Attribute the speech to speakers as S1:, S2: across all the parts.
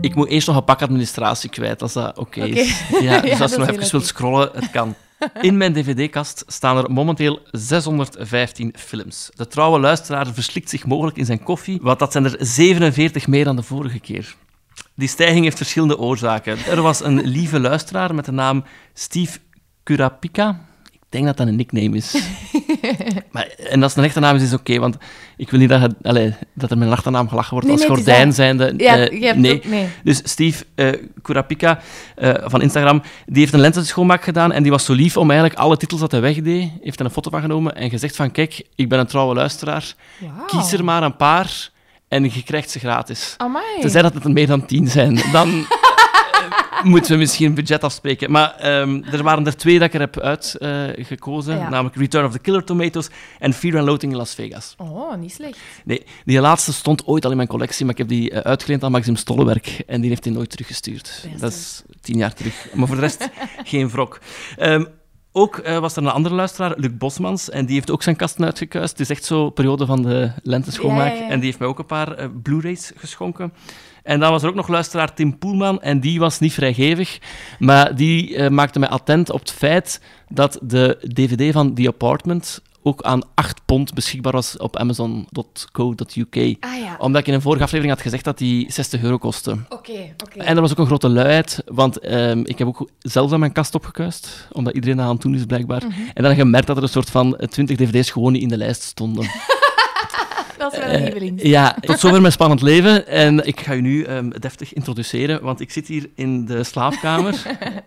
S1: Ik moet eerst nog een pak administratie kwijt, als dat oké is. Ja, dus als
S2: Ja, dat
S1: je nog
S2: is
S1: even
S2: heel
S1: wilt scrollen, het kan. In mijn dvd-kast staan er momenteel 615 films. De trouwe luisteraar verslikt zich mogelijk in zijn koffie, want dat zijn er 47 meer dan de vorige keer. Die stijging heeft verschillende oorzaken. Er was een lieve luisteraar met de naam Steve Kurapika. Ik denk dat dat een nickname is. Maar, en als het een echte naam is, is het oké, want ik wil niet dat, je- allee, dat er met een achternaam gelachen wordt
S2: Nee,
S1: als
S2: nee, het is
S1: gordijn
S2: dat.
S1: zijnde.
S2: Ja,
S1: eh,
S2: je hebt
S1: nee.
S2: ook- nee.
S1: Dus Steve eh Kurapika eh, van Instagram, die heeft een lentenschoonmaak gedaan en die was zo lief om eigenlijk alle titels dat hij wegdeed, heeft er een foto van genomen en gezegd van kijk, ik ben een trouwe luisteraar,
S2: Wauw.
S1: kies er maar een paar en je krijgt ze gratis.
S2: Amai.
S1: Tenzij dat het er meer dan tien zijn, dan eh, moeten we misschien een budget afspreken. Maar ehm, er waren er twee dat ik er heb uitgekozen, gekozen,
S2: Ja.
S1: namelijk Return of the Killer Tomatoes en Fear and Loathing in Las Vegas.
S2: Oh, niet slecht.
S1: Nee, die laatste stond ooit al in mijn collectie, maar ik heb die eh, uitgeleend aan Maxim Stollewerk en die heeft die nooit teruggestuurd.
S2: Best,
S1: Dat is tien jaar terug. Maar voor de rest geen wrok. Ehm, ook eh, was er een andere luisteraar, Luc Bosmans, en die heeft ook zijn kasten uitgekuist. Het is echt zo periode van de lente schoonmaak.
S2: Ja, ja, ja.
S1: En die heeft mij ook een paar eh, Blu-rays geschonken. En dan was er ook nog luisteraar Tim Poelman, en die was niet vrijgevig, maar die eh, maakte mij attent op het feit dat de DVD van The Apartment ook aan 8 pond beschikbaar was op amazon.co.uk.
S2: Ah ja,
S1: Omdat ik in een vorige aflevering had gezegd dat die 60 euro kostte.
S2: oké, oké.
S1: En er was ook een grote luiheid, want ehm, ik heb ook zelfs aan mijn kast opgekuist, omdat iedereen dat aan het doen is blijkbaar.
S2: Mhm.
S1: En dan gemerkt dat er een soort van eh, 20 dvd's gewoon niet in de lijst stonden.
S2: Dat is wel een lieveling.
S1: Eh, ja, tot zover mijn spannend leven. En ik ga u nu ehm, deftig introduceren, want ik zit hier in de slaapkamer.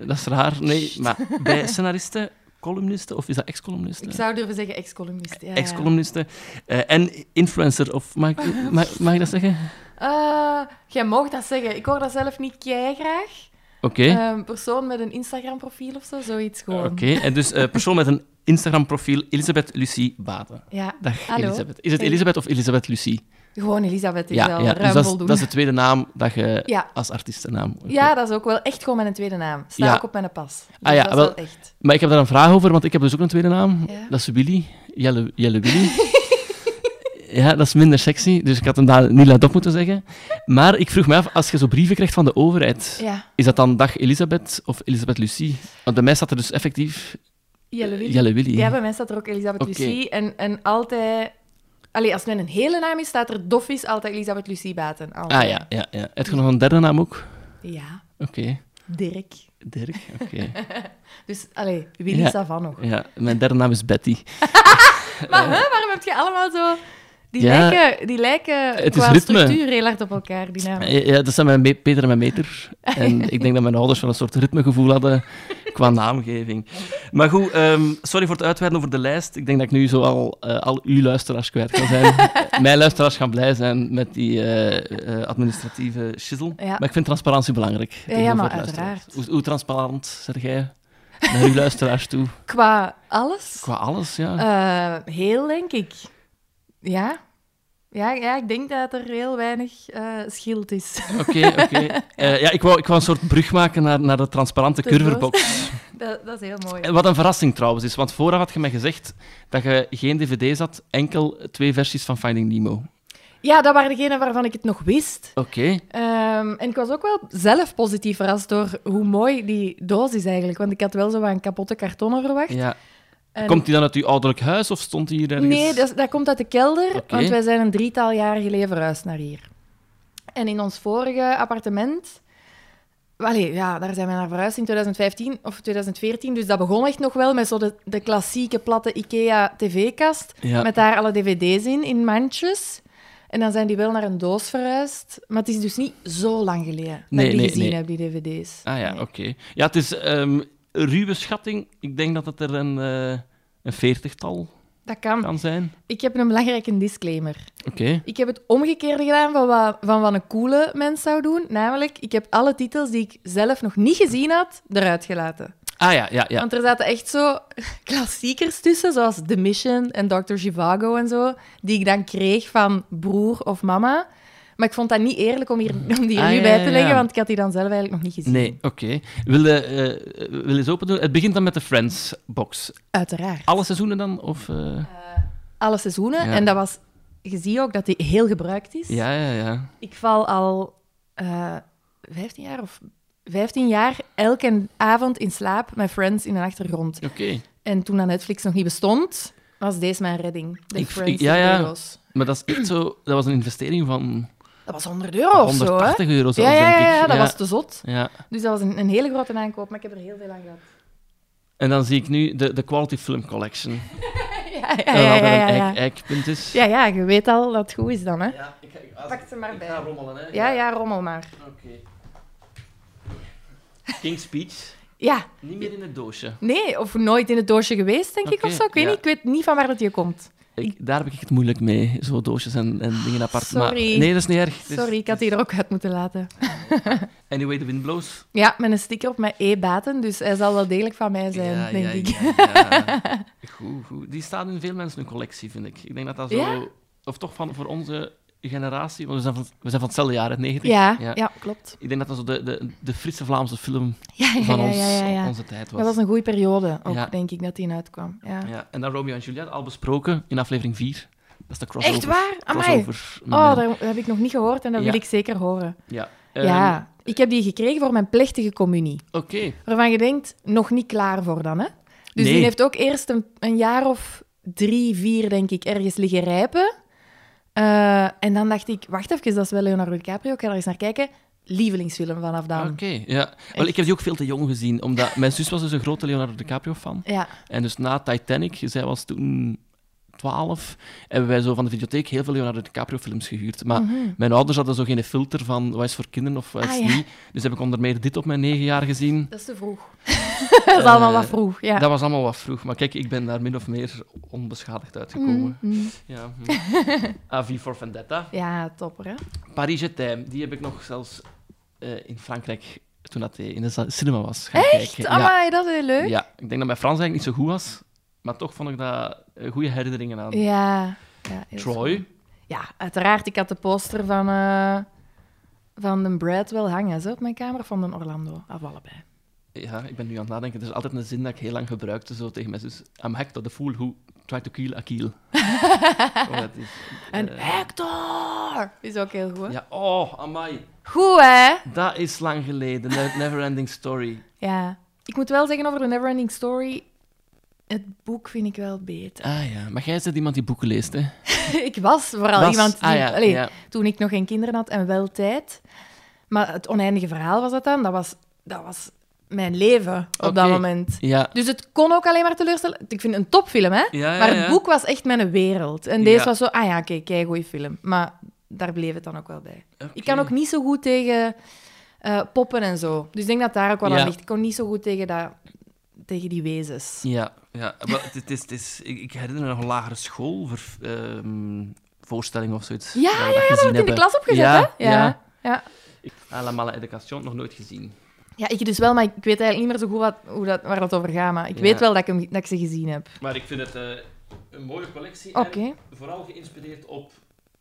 S1: dat is raar, nee. Maar bij scenaristen, columnisten, of is dat ex-columnisten?
S2: Ik zou durven zeggen ex-columnist. Ja, ja.
S1: Ex-columnisten. Eh, en influencer, of mag ik, mag, mag ik dat zeggen?
S2: Eh, jij mag dat zeggen. Ik hoor dat zelf niet graag. Eh,
S1: Oké.
S2: Een persoon met een Instagram-profiel of zo, zoiets gewoon.
S1: Oké, en dus eh, persoon met een Instagram-profiel, Elisabeth Lucie Baden.
S2: Ja,
S1: Dag,
S2: Hallo.
S1: Elisabeth. Is het
S2: Hey.
S1: Elisabeth of Elisabeth Lucie?
S2: gewoon Elisabeth is wel
S1: ja
S2: ruim
S1: dus dat is,
S2: voldoende.
S1: dat is de tweede naam dat je
S2: Ja.
S1: als artiestennaam... oké.
S2: Ja, dat is ook wel echt gewoon mijn tweede naam. Staat
S1: Ja.
S2: ook op mijn pas. Dus
S1: Ah ja,
S2: dat is wel
S1: wel-
S2: echt.
S1: Maar ik heb daar een vraag over, want ik heb dus ook een tweede naam.
S2: Ja.
S1: Dat is Willy. Jelle, Jelle Willy. ja, dat is minder sexy, dus ik had hem daar niet laat op moeten zeggen. Maar ik vroeg me af, als je zo brieven krijgt van de overheid,
S2: Ja,
S1: is dat dan dag Elisabeth of Elisabeth Lucie? Want bij mij staat er dus effectief
S2: Jelle Willy.
S1: Jelle Willy.
S2: Ja, bij mij staat er ook Elisabeth
S1: Oké.
S2: Lucie. En, en altijd... Allee, als het een hele naam is, staat er dof is altijd Elisabeth Lucie Baten. Altijd.
S1: ah ja, ja, ja. Heb je nog een derde naam ook?
S2: Ja,
S1: Oké,
S2: Dirk.
S1: Dirk. Oké.
S2: Dus, allee, Willy
S1: Ja.
S2: Savan nog.
S1: Ja, mijn derde naam is Betty.
S2: Maar hè, waarom heb je allemaal zo... Die
S1: Ja.
S2: lijken, die lijken
S1: Het is
S2: qua
S1: ritme.
S2: structuur heel hard op elkaar, die namen.
S1: Ja, dat zijn mijn me- Peter en mijn Meter. En ik denk dat mijn ouders wel een soort ritmegevoel hadden qua naamgeving. Maar goed, ehm, sorry voor het uitweiden over de lijst. Ik denk dat ik nu zo al, eh, al uw luisteraars kwijt kan zijn. mijn luisteraars gaan blij zijn met die eh, eh, administratieve shizzle.
S2: Ja.
S1: Maar ik vind transparantie belangrijk. tegenover
S2: maar
S1: luisteraars.
S2: uiteraard.
S1: Hoe, hoe transparant zeg jij naar uw luisteraars toe?
S2: Qua alles?
S1: Qua alles, ja.
S2: Eh, heel, denk ik. Ja. Ja, ja, ik denk dat er heel weinig eh schild is.
S1: Oké, oké. Eh, ja, ik wou, ik wou een soort brug maken naar, naar de transparante
S2: De doos.
S1: curverbox.
S2: dat, dat is heel mooi.
S1: En Eh, Wat een verrassing trouwens is, want vooraf had je mij gezegd dat je geen dvd's had, enkel twee versies van Finding Nemo. Oké.
S2: Ja, dat waren degenen waarvan ik het nog wist. Ehm, en ik was ook wel zelf positief verrast door hoe mooi die doos is eigenlijk. Want ik had wel zo wat een kapotte kartonnen verwacht.
S1: Ja.
S2: En-
S1: Komt die dan uit uw ouderlijk huis of stond die hier ergens?
S2: Nee, dat, is- dat komt uit de kelder,
S1: Oké.
S2: want wij zijn een drietal jaar geleden verhuisd naar hier. En in ons vorige appartement... Allee, ja, daar zijn we naar verhuisd in 2015 of 2014. Dus dat begon echt nog wel met zo de, de klassieke platte IKEA-tv-kast.
S1: Ja.
S2: Met daar alle dvd's in, in mandjes. En dan zijn die wel naar een doos verhuisd. Maar het is dus niet zo lang geleden dat
S1: Nee,
S2: ik die
S1: nee,
S2: gezien
S1: nee.
S2: heb, die dvd's.
S1: Ah ja,
S2: Nee.
S1: oké. Ja, het is ehm een ruwe schatting. Ik denk dat het er een, eh, een veertigtal
S2: Dat kan.
S1: kan zijn.
S2: Ik heb een belangrijke disclaimer.
S1: Oké.
S2: Ik heb het omgekeerde gedaan van wat, van wat een coole mens zou doen. Namelijk, ik heb alle titels die ik zelf nog niet gezien had, eruit gelaten.
S1: Ah ja, ja, ja.
S2: Want er zaten echt zo klassiekers tussen, zoals The Mission en Dr. Zhivago en zo, die ik dan kreeg van broer of mama. Maar ik vond dat niet eerlijk om, hier, om die er
S1: Ah,
S2: nu
S1: ja,
S2: bij
S1: ja, ja.
S2: te leggen, want ik had die dan zelf eigenlijk nog niet gezien.
S1: Nee, oké. Wil je eh, wil je eens open doen? Het begint dan met de Friends box.
S2: Uiteraard.
S1: Alle seizoenen dan? Of, eh?
S2: Alle seizoenen.
S1: Ja.
S2: En dat was... Je ziet ook dat die heel gebruikt is.
S1: Ja, ja, ja.
S2: Ik val al eh, 15 jaar of 15 jaar elke avond in slaap met Friends in de achtergrond.
S1: Oké.
S2: En toen dat Netflix nog niet bestond, was deze mijn redding. De
S1: Ik-
S2: Friends
S1: ik- ja, ja.
S2: euro's.
S1: Maar dat is echt zo... Dat was een investering van
S2: Dat was 100 euro of zo, hè?
S1: 180 euro, zelfs,
S2: Ja, ja, ja,
S1: denk ik.
S2: ja, dat was te zot.
S1: Ja.
S2: Dus dat was een, een hele grote aankoop, maar ik heb er heel veel aan gehad.
S1: En dan zie ik nu de, de Quality Film Collection.
S2: Ja, Ah, ja,
S1: dat
S2: ja,
S1: altijd
S2: ja, ja,
S1: een
S2: ja.
S1: eik- eikpunt is.
S2: Ja, ja, je weet al dat het goed is dan, hè?
S1: Ja, ik, ik, als-
S2: Pak ze maar
S1: ik
S2: bij.
S1: ga rommelen, hè.
S2: Ja, ja, rommel maar.
S1: Oké. King's Speech.
S2: Ja,
S1: Niet meer in het doosje.
S2: nee, of nooit in het doosje geweest, denk ik,
S1: Oké,
S2: of zo. Ik weet
S1: ja.
S2: niet, ik weet niet van waar dat je komt.
S1: Ik, daar heb ik het moeilijk mee, zo doosjes en, en dingen apart.
S2: Sorry.
S1: Maar, nee, dat is niet erg. Het is-
S2: Sorry, ik had die er ook uit moeten laten.
S1: Anyway, the wind blows.
S2: Ja, met een sticker op mijn e-baten, dus hij zal wel degelijk van mij zijn,
S1: ja,
S2: denk
S1: ja,
S2: ik.
S1: ja, ja. Goed, goed. Die staat in veel mensen hun collectie, vind ik. Ik denk dat dat zo...
S2: Ja?
S1: Of toch van, voor onze generatie, want we zijn van, we zijn van hetzelfde jaar, hè, 90.
S2: Ja, ja. klopt.
S1: Ik denk dat dat zo de, de, de Frisse Vlaamse film
S2: Ja, ja,
S1: van
S2: ja,
S1: ons,
S2: ja, ja, ja.
S1: onze tijd was.
S2: Dat was een goede periode ook,
S1: Ja.
S2: denk ik, dat die uitkwam. Ja.
S1: ja. En dan Romeo en Juliet, al besproken in aflevering 4. Dat is de crossover.
S2: Echt waar? Amai.
S1: Crossover.
S2: Oh, daar heb ik nog niet gehoord en dat wil
S1: Mhm. Ja.
S2: ik zeker horen.
S1: Ja. Ehm,
S2: ja, ik heb die gekregen voor mijn plechtige communie.
S1: Oké.
S2: Waarvan je denkt, nog niet klaar voor dan, hè? Dus
S1: Nee.
S2: die heeft ook eerst een, een jaar of drie, vier, denk ik, ergens liggen rijpen. Eh, en dan dacht ik, wacht even, dat is wel Leonardo DiCaprio, ik ga er eens naar kijken. Lievelingsfilm vanaf dan.
S1: Oké, ja. Wel, ik heb die ook veel te jong gezien, omdat mijn zus was dus een grote Leonardo DiCaprio-fan.
S2: Ja,
S1: En dus na Titanic, zij was toen 12, hebben wij zo van de videotheek heel veel Leonardo DiCaprio-films gehuurd. Maar mijn ouders hadden zo geen filter van wat is voor kinderen of wat is
S2: Mhm. Ah, ja.
S1: niet. Dus heb ik onder meer dit op mijn negen jaar gezien.
S2: dat is te vroeg. dat is allemaal
S1: Eh,
S2: wat vroeg, ja.
S1: Dat was allemaal wat vroeg, maar kijk, ik ben daar min of meer onbeschadigd uitgekomen.
S2: Mhm.
S1: Ja. hm. Ah, V for Vendetta.
S2: Ja, topper, hè?
S1: Paris Je T'aime, die heb ik nog zelfs eh, in Frankrijk, toen dat hij in de za- cinema was, gaan
S2: Echt?
S1: kijken. Ja.
S2: Amai, dat is heel leuk.
S1: Ja, ik denk dat mijn Frans eigenlijk niet zo goed was, maar toch vond ik dat eh, goede herinneringen aan.
S2: Ja. ja heel schoon.
S1: Troy.
S2: Ja, uiteraard. Ik had de poster van, eh, van de Brad wel hangen, zo op mijn kamer, van de Orlando. Of allebei.
S1: Ja, ik ben nu aan het nadenken. Er is altijd een zin dat ik heel lang gebruikte zo tegen mijn zus. I'm Hector the fool who tried to kill Akil. oh, dat is,
S2: En
S1: eh,
S2: Hector! Is ook heel goed. hè?
S1: Ja, oh, amai.
S2: Goed, hè?
S1: Dat is lang geleden. Ne- Neverending Story.
S2: Ja. Ik moet wel zeggen over de Neverending Story. Het boek vind ik wel beter.
S1: Ah ja, maar jij bent iemand die boeken leest, hè?
S2: ik was vooral
S1: Was-
S2: iemand die...
S1: ah, ja,
S2: allee,
S1: ja.
S2: Toen ik nog geen kinderen had en wel tijd. Maar het oneindige verhaal was dat dan. Dat was, dat was mijn leven op dat
S1: Oké.
S2: moment.
S1: Ja.
S2: Dus het kon ook alleen maar teleurstellen. Ik vind het een topfilm, hè?
S1: Ja, ja,
S2: Maar het
S1: Eh, ja.
S2: boek was echt mijn wereld. En deze
S1: Ja.
S2: was zo, ah ja, oké, kei goede film. Maar daar bleef het dan ook wel bij.
S1: Oké.
S2: Ik kan ook niet zo goed tegen eh, poppen en zo. Dus ik denk dat daar ook wel
S1: Ja.
S2: aan ligt. Ik kon niet zo goed tegen, dat, tegen die wezens.
S1: Ja, ja. Maar het, het is, het is, ik, ik herinner me nog een lagere school voor, ehm, voorstelling of zoiets.
S2: Ja, ja,
S1: dat
S2: Dat
S1: gezien
S2: wordt in de
S1: hebben.
S2: klas opgezet,
S1: Ja,
S2: hè? Ja. ja.
S1: Ah, La Mala Education, nog nooit gezien.
S2: Ja, ik dus wel, maar ik weet eigenlijk niet meer zo goed wat, hoe dat, waar dat over gaat. Maar ik
S1: Ja.
S2: weet wel dat ik, hem, dat ik ze gezien heb.
S1: Maar ik vind het eh, een mooie collectie.
S2: Oké.
S1: En vooral geïnspireerd op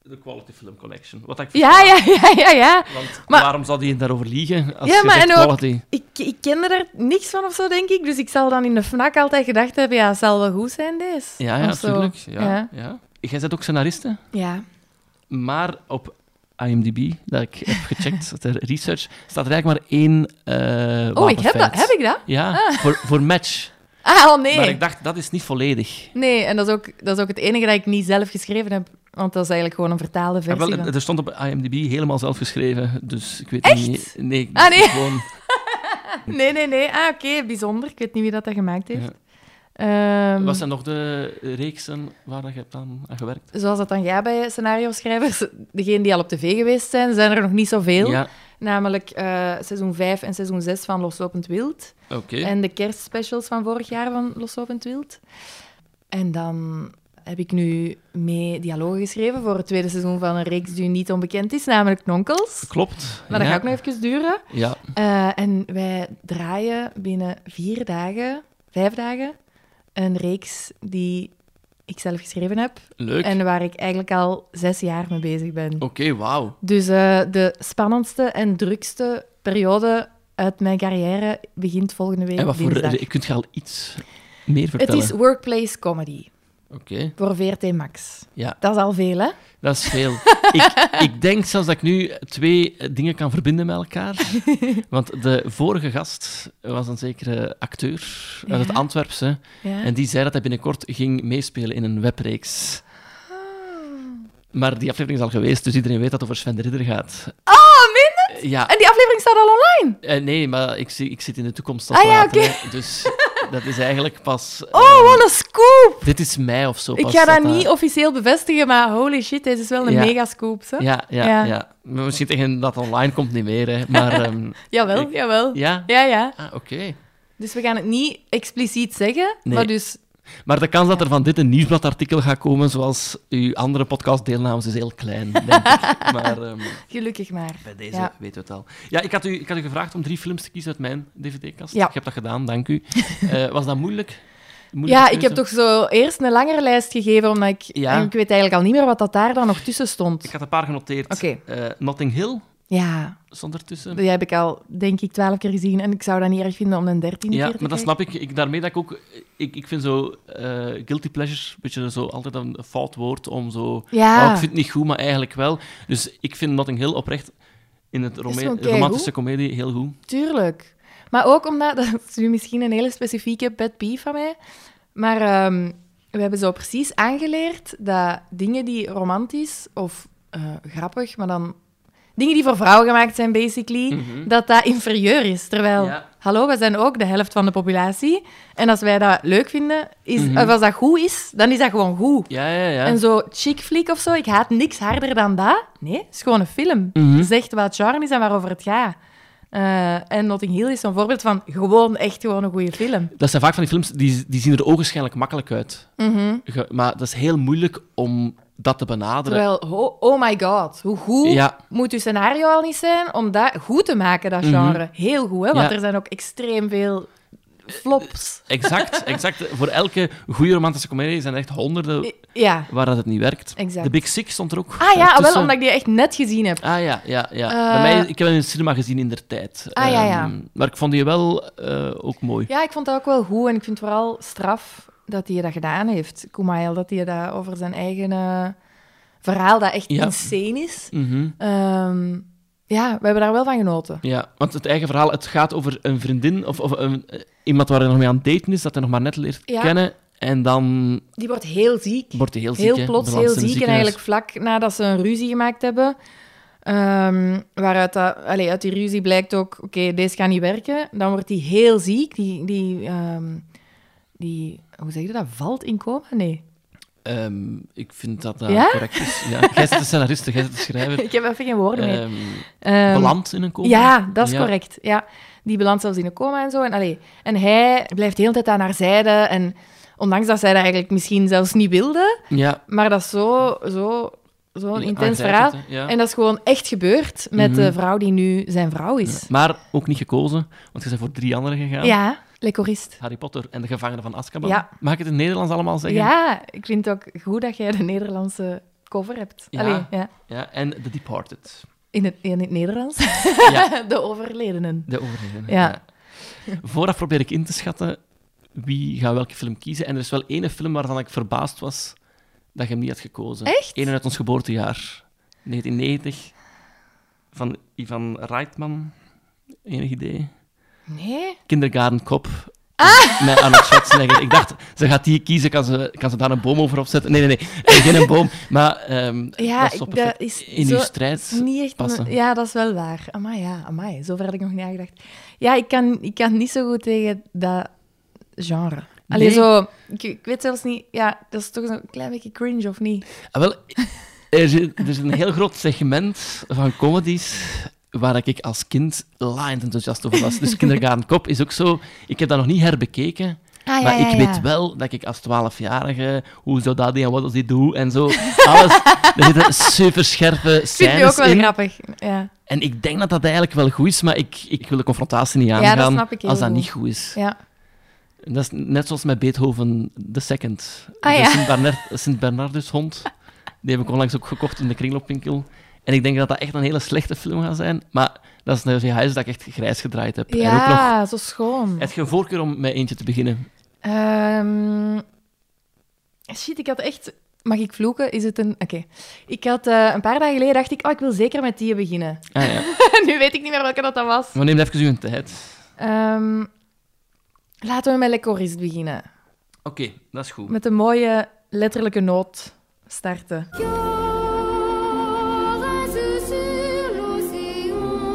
S1: de Quality Film Collection. Wat ik
S2: Ja,
S1: versta.
S2: ja, ja, ja, ja.
S1: Want
S2: Maar-
S1: waarom zou die daarover liegen? Als
S2: Ja,
S1: je
S2: maar
S1: zegt
S2: en ook-
S1: quality.
S2: Ik, ik kende er niks van of zo, denk ik. Dus ik zal dan in de FNAC altijd gedacht hebben, ja, het zal wel goed zijn, deze.
S1: Ja, ja,
S2: Of zo.
S1: natuurlijk. Ja,
S2: Ja.
S1: ja. Jij bent ook scenariste,
S2: Ja.
S1: maar op IMDb, dat ik heb gecheckt, dat er research, staat er eigenlijk maar één eh
S2: Oh, ik heb dat. Heb ik dat?
S1: Ja, voor, voor match.
S2: Ah, oh, nee.
S1: Maar ik dacht, dat is niet volledig.
S2: Nee, en dat is, ook, dat is ook het enige dat ik niet zelf geschreven heb. Want dat is eigenlijk gewoon een vertaalde
S1: Ja,
S2: versie
S1: Ah, wel,
S2: van...
S1: er stond op IMDb helemaal zelf geschreven, dus ik weet
S2: Echt?
S1: niet... Nee, ik
S2: Ah, nee.
S1: gewoon...
S2: Nee, nee, nee. Ah, oké. Bijzonder. Ik weet niet wie dat, dat gemaakt heeft.
S1: Ja.
S2: Ehm,
S1: Wat zijn nog de reeksen waar dat je hebt aan, aan gewerkt?
S2: Zoals dat dan gaat bij scenario-schrijvers, degenen die al op tv geweest zijn, zijn er nog niet zoveel.
S1: Ja,
S2: Namelijk eh, seizoen 5 en seizoen 6 van Loslopend Wild.
S1: oké.
S2: En de kerstspecials van vorig jaar van Loslopend Wild. En dan heb ik nu mee dialogen geschreven voor het tweede seizoen van een reeks die u niet onbekend is, namelijk Nonkels.
S1: Klopt.
S2: Maar dat
S1: ja.
S2: gaat ook nog even duren.
S1: Ja,
S2: Eh, en wij draaien binnen vier dagen, vijf dagen, een reeks die ik zelf geschreven heb.
S1: leuk.
S2: En ehm, waar ik eigenlijk al zes jaar mee bezig ben.
S1: Oké, wauw.
S2: Dus eh, de spannendste en drukste periode uit mijn carrière begint volgende week
S1: En wat voor...
S2: dinsdag.
S1: re- Kunt je al iets meer
S2: Het
S1: vertellen?
S2: is workplace comedy.
S1: Oké,
S2: voor VRT Max.
S1: ja,
S2: Dat is al veel, hè?
S1: dat is veel. ik, ik denk zelfs dat ik nu twee eh, dingen kan verbinden met elkaar. Want de vorige gast was een zekere acteur uit
S2: Ja.
S1: het Antwerpse.
S2: Ja.
S1: En die zei dat hij binnenkort ging meespelen in een webreeks.
S2: Ah.
S1: Maar die aflevering is al geweest, dus iedereen weet dat het over Sven de Ridder gaat.
S2: Oh, minder?
S1: Eh, Ja,
S2: En die aflevering staat al online?
S1: eh, nee, maar ik, zie- ik zit in de toekomst te
S2: Ah, ja,
S1: praten, hè. Dus dat is eigenlijk pas... eh,
S2: Oh, wat een scoop!
S1: Dit is mei of zo.
S2: Ik
S1: pas
S2: ga dat
S1: dat
S2: niet officieel bevestigen, maar holy shit, dit is wel een
S1: Ja.
S2: mega scoop, hè?
S1: Ja, ja,
S2: Ja.
S1: ja. Maar Misschien tegen dat online komt niet meer, hè. Maar ehm,
S2: Jawel,
S1: Ik-
S2: jawel.
S1: ja.
S2: Ja, ja.
S1: Ah, oké.
S2: Dus we gaan het niet expliciet zeggen,
S1: Nee.
S2: maar dus...
S1: Maar de kans dat er van dit een nieuwsbladartikel gaat komen, zoals uw andere podcastdeelnames, is heel klein, denk ik. Maar ehm,
S2: Gelukkig maar.
S1: bij deze
S2: Ja.
S1: weten we het al. Ja, ik had, u, ik had u gevraagd om drie films te kiezen uit mijn dvd-kast.
S2: Ja.
S1: Ik heb dat gedaan, dank u. Eh, was dat moeilijk? Moeilijke
S2: Ja, ik heb
S1: keuze?
S2: toch zo eerst een langere lijst gegeven, omdat ik...
S1: Ja.
S2: en Ik weet eigenlijk al niet meer wat dat daar dan nog tussen stond.
S1: Ik had een paar genoteerd.
S2: Oké.
S1: Eh, Notting Hill
S2: Ja,
S1: stond ertussen.
S2: die heb ik al, denk ik, twaalf keer gezien. En ik zou dat niet erg vinden om een dertiende
S1: Ja,
S2: keer te
S1: maar dat
S2: kijken.
S1: snap ik. ik. Daarmee dat ik ook... Ik, ik vind zo eh, guilty pleasure een beetje zo altijd een fout woord om zo...
S2: Ja.
S1: Oh, ik vind het niet goed, maar eigenlijk wel. Dus ik vind Notting Hill oprecht in het rome-
S2: gewoon keigoed.
S1: romantische komedie heel goed.
S2: Tuurlijk. Maar ook omdat, dat is nu misschien een hele specifieke pet peeve van mij, maar ehm, we hebben zo precies aangeleerd dat dingen die romantisch of eh, grappig, maar dan dingen die voor vrouwen gemaakt zijn, basically, dat dat inferieur is. Terwijl,
S1: Mhm. Ja.
S2: hallo, we zijn ook de helft van de populatie. En als wij dat leuk vinden, is,
S1: Mhm.
S2: of als dat goed is, dan is dat gewoon goed.
S1: Ja, ja, ja.
S2: En zo chick flick of zo, ik haat niks harder dan dat. Nee, het is gewoon een film.
S1: Mhm.
S2: Zegt wat charm is en waarover het gaat. Eh, en Notting Hill is zo'n voorbeeld van gewoon echt gewoon een goede film.
S1: Dat zijn vaak van die films, die, die zien er ogenschijnlijk makkelijk uit. Ge- maar dat is heel moeilijk om dat te benaderen.
S2: Terwijl, ho- oh my god, hoe goed
S1: Ja.
S2: moet uw scenario al niet zijn om dat goed te maken, dat genre? Heel goed, hè? want
S1: Mhm. Ja.
S2: er zijn ook extreem veel flops.
S1: Exact, exact. Voor elke goede romantische komedie zijn er echt honderden
S2: Eh, Ja,
S1: waar dat het niet werkt.
S2: Exact.
S1: De Big Six stond er ook
S2: ah ja, wel
S1: tussen.
S2: omdat ik die echt net gezien heb.
S1: Ah ja, ja, ja.
S2: Eh.
S1: Bij mij, ik heb hem in het cinema gezien in de tijd.
S2: Ah, ja, ja.
S1: Ehm, maar ik vond die wel eh, ook mooi.
S2: Ja, ik vond dat ook wel goed. En ik vind vooral straf dat hij dat gedaan heeft, Kumail. Dat hij dat over zijn eigen eh, verhaal, dat echt
S1: Ja.
S2: insane is.
S1: Mhm.
S2: Ehm, ja, we hebben daar wel van genoten.
S1: Ja, want het eigen verhaal, het gaat over een vriendin of, of een, eh, iemand waar hij nog mee aan het daten is, dat hij nog maar net leert
S2: Ja.
S1: kennen. En dan
S2: Die wordt heel ziek.
S1: wordt hij heel ziek.
S2: Heel
S1: hè.
S2: plots,
S1: Belandt
S2: heel
S1: in een
S2: ziek. En
S1: ziekenhuis.
S2: eigenlijk vlak nadat ze een ruzie gemaakt hebben. ehm, waaruit dat, allee, uit die ruzie blijkt ook, oké, deze gaat niet werken. Dan wordt die heel ziek. Die, die, ehm, die hoe zeg je dat? Valt in coma? Nee.
S1: Ehm, ik vind dat dat
S2: Ja?
S1: correct is. Ja. Jij zit de scenariste, jij zit de schrijver.
S2: Ik heb even geen woorden meer.
S1: Ehm
S2: Ehm,
S1: belandt in een coma.
S2: Ja, dat is
S1: Ja.
S2: correct. Ja. Die belandt zelfs in een coma en zo. En, allee, en hij blijft de hele tijd aan haar zijde. En ondanks dat zij dat eigenlijk misschien zelfs niet wilde,
S1: Ja. ah,
S2: maar dat is zo, zo, zo'n intens
S1: Aangrijpend,
S2: verhaal.
S1: hè. Ja.
S2: En dat is gewoon echt gebeurd met de
S1: Mhm.
S2: vrouw die nu zijn vrouw is.
S1: Maar ook niet gekozen, want je bent voor drie anderen
S2: Ja,
S1: gegaan.
S2: Le Coriste.
S1: Harry Potter en de gevangenen van Azkaban.
S2: Ja.
S1: Mag ik het in het Nederlands allemaal zeggen?
S2: Ja, ik vind het ook goed dat jij de Nederlandse cover hebt.
S1: Ja.
S2: Allee, ja.
S1: Ja, en The Departed.
S2: In, het, in het Nederlands.
S1: Ja,
S2: de overledenen.
S1: de overlevende.
S2: Ja.
S1: Vooraf probeer ik in te schatten wie gaat welke film kiezen. En er is wel ene film waarvan ik verbaasd was dat je hem niet had gekozen.
S2: Echt?
S1: Ene uit ons geboortejaar. 1990. Van Ivan Reitman. Enig idee?
S2: Nee.
S1: Kindergarten Cop.
S2: Ah!
S1: Met Arnold Schwarzenegger. Ik dacht, ze gaat die kiezen, kan ze, kan ze daar een boom over opzetten? Nee, nee, nee. eh, Geen een boom, maar ehm
S2: Ja,
S1: dat is zo
S2: ik-
S1: perfect.
S2: dat is
S1: In
S2: zo-
S1: uw strijd.
S2: Niet echt
S1: passen.
S2: mijn- ja, dat is wel waar. Amai, ja, amai. Zover had ik nog niet aangedacht. Ja, ik kan, ik kan niet zo goed tegen dat genre. Alleen
S1: Nee.
S2: zo, ik, ik weet zelfs niet, ja, dat is toch een klein beetje cringe of niet?
S1: Ah, wel, er, zit- er is een heel groot segment van comedies waar ik als kind laaiend enthousiast over was. Dus Kindergarten Cop is ook zo... Ik heb dat nog niet herbekeken,
S2: Ah,
S1: maar ik weet wel dat ik als 12-jarige... Hoe zou dat die en wat als die doe en zo. Alles, er zitten superscherpe
S2: Ik vind je ook
S1: scènes
S2: wel
S1: in.
S2: grappig. Ja.
S1: En ik denk dat dat eigenlijk wel goed is, maar ik, ik wil de confrontatie niet
S2: Ja,
S1: aangaan
S2: dat snap ik heel
S1: als dat
S2: goed.
S1: niet goed is.
S2: ja.
S1: En Dat is net zoals met Beethoven II.
S2: Ah,
S1: de
S2: ja.
S1: Sint-Bernard- Sint-Bernardushond. Die heb ik onlangs ook gekocht in de kringloopwinkel. En ik denk dat dat echt een hele slechte film gaat zijn. Maar dat is een huis dat ik echt grijs gedraaid heb. En ook nog...
S2: Ja, zo schoon.
S1: Heb je een voorkeur om met eentje te beginnen?
S2: Ehm, Shit, ik had echt... Mag ik vloeken? Is het een... Oké. Ik had eh, een paar dagen geleden dacht ik, oh, ik wil zeker met die beginnen.
S1: Ah, ja.
S2: nu weet ik niet meer welke dat, dat was.
S1: Maar neem even uw tijd.
S2: Ehm, laten we met Le Corist beginnen.
S1: Oké, dat is goed.
S2: Met een mooie letterlijke noot starten.
S3: Yarasu sur l'océan,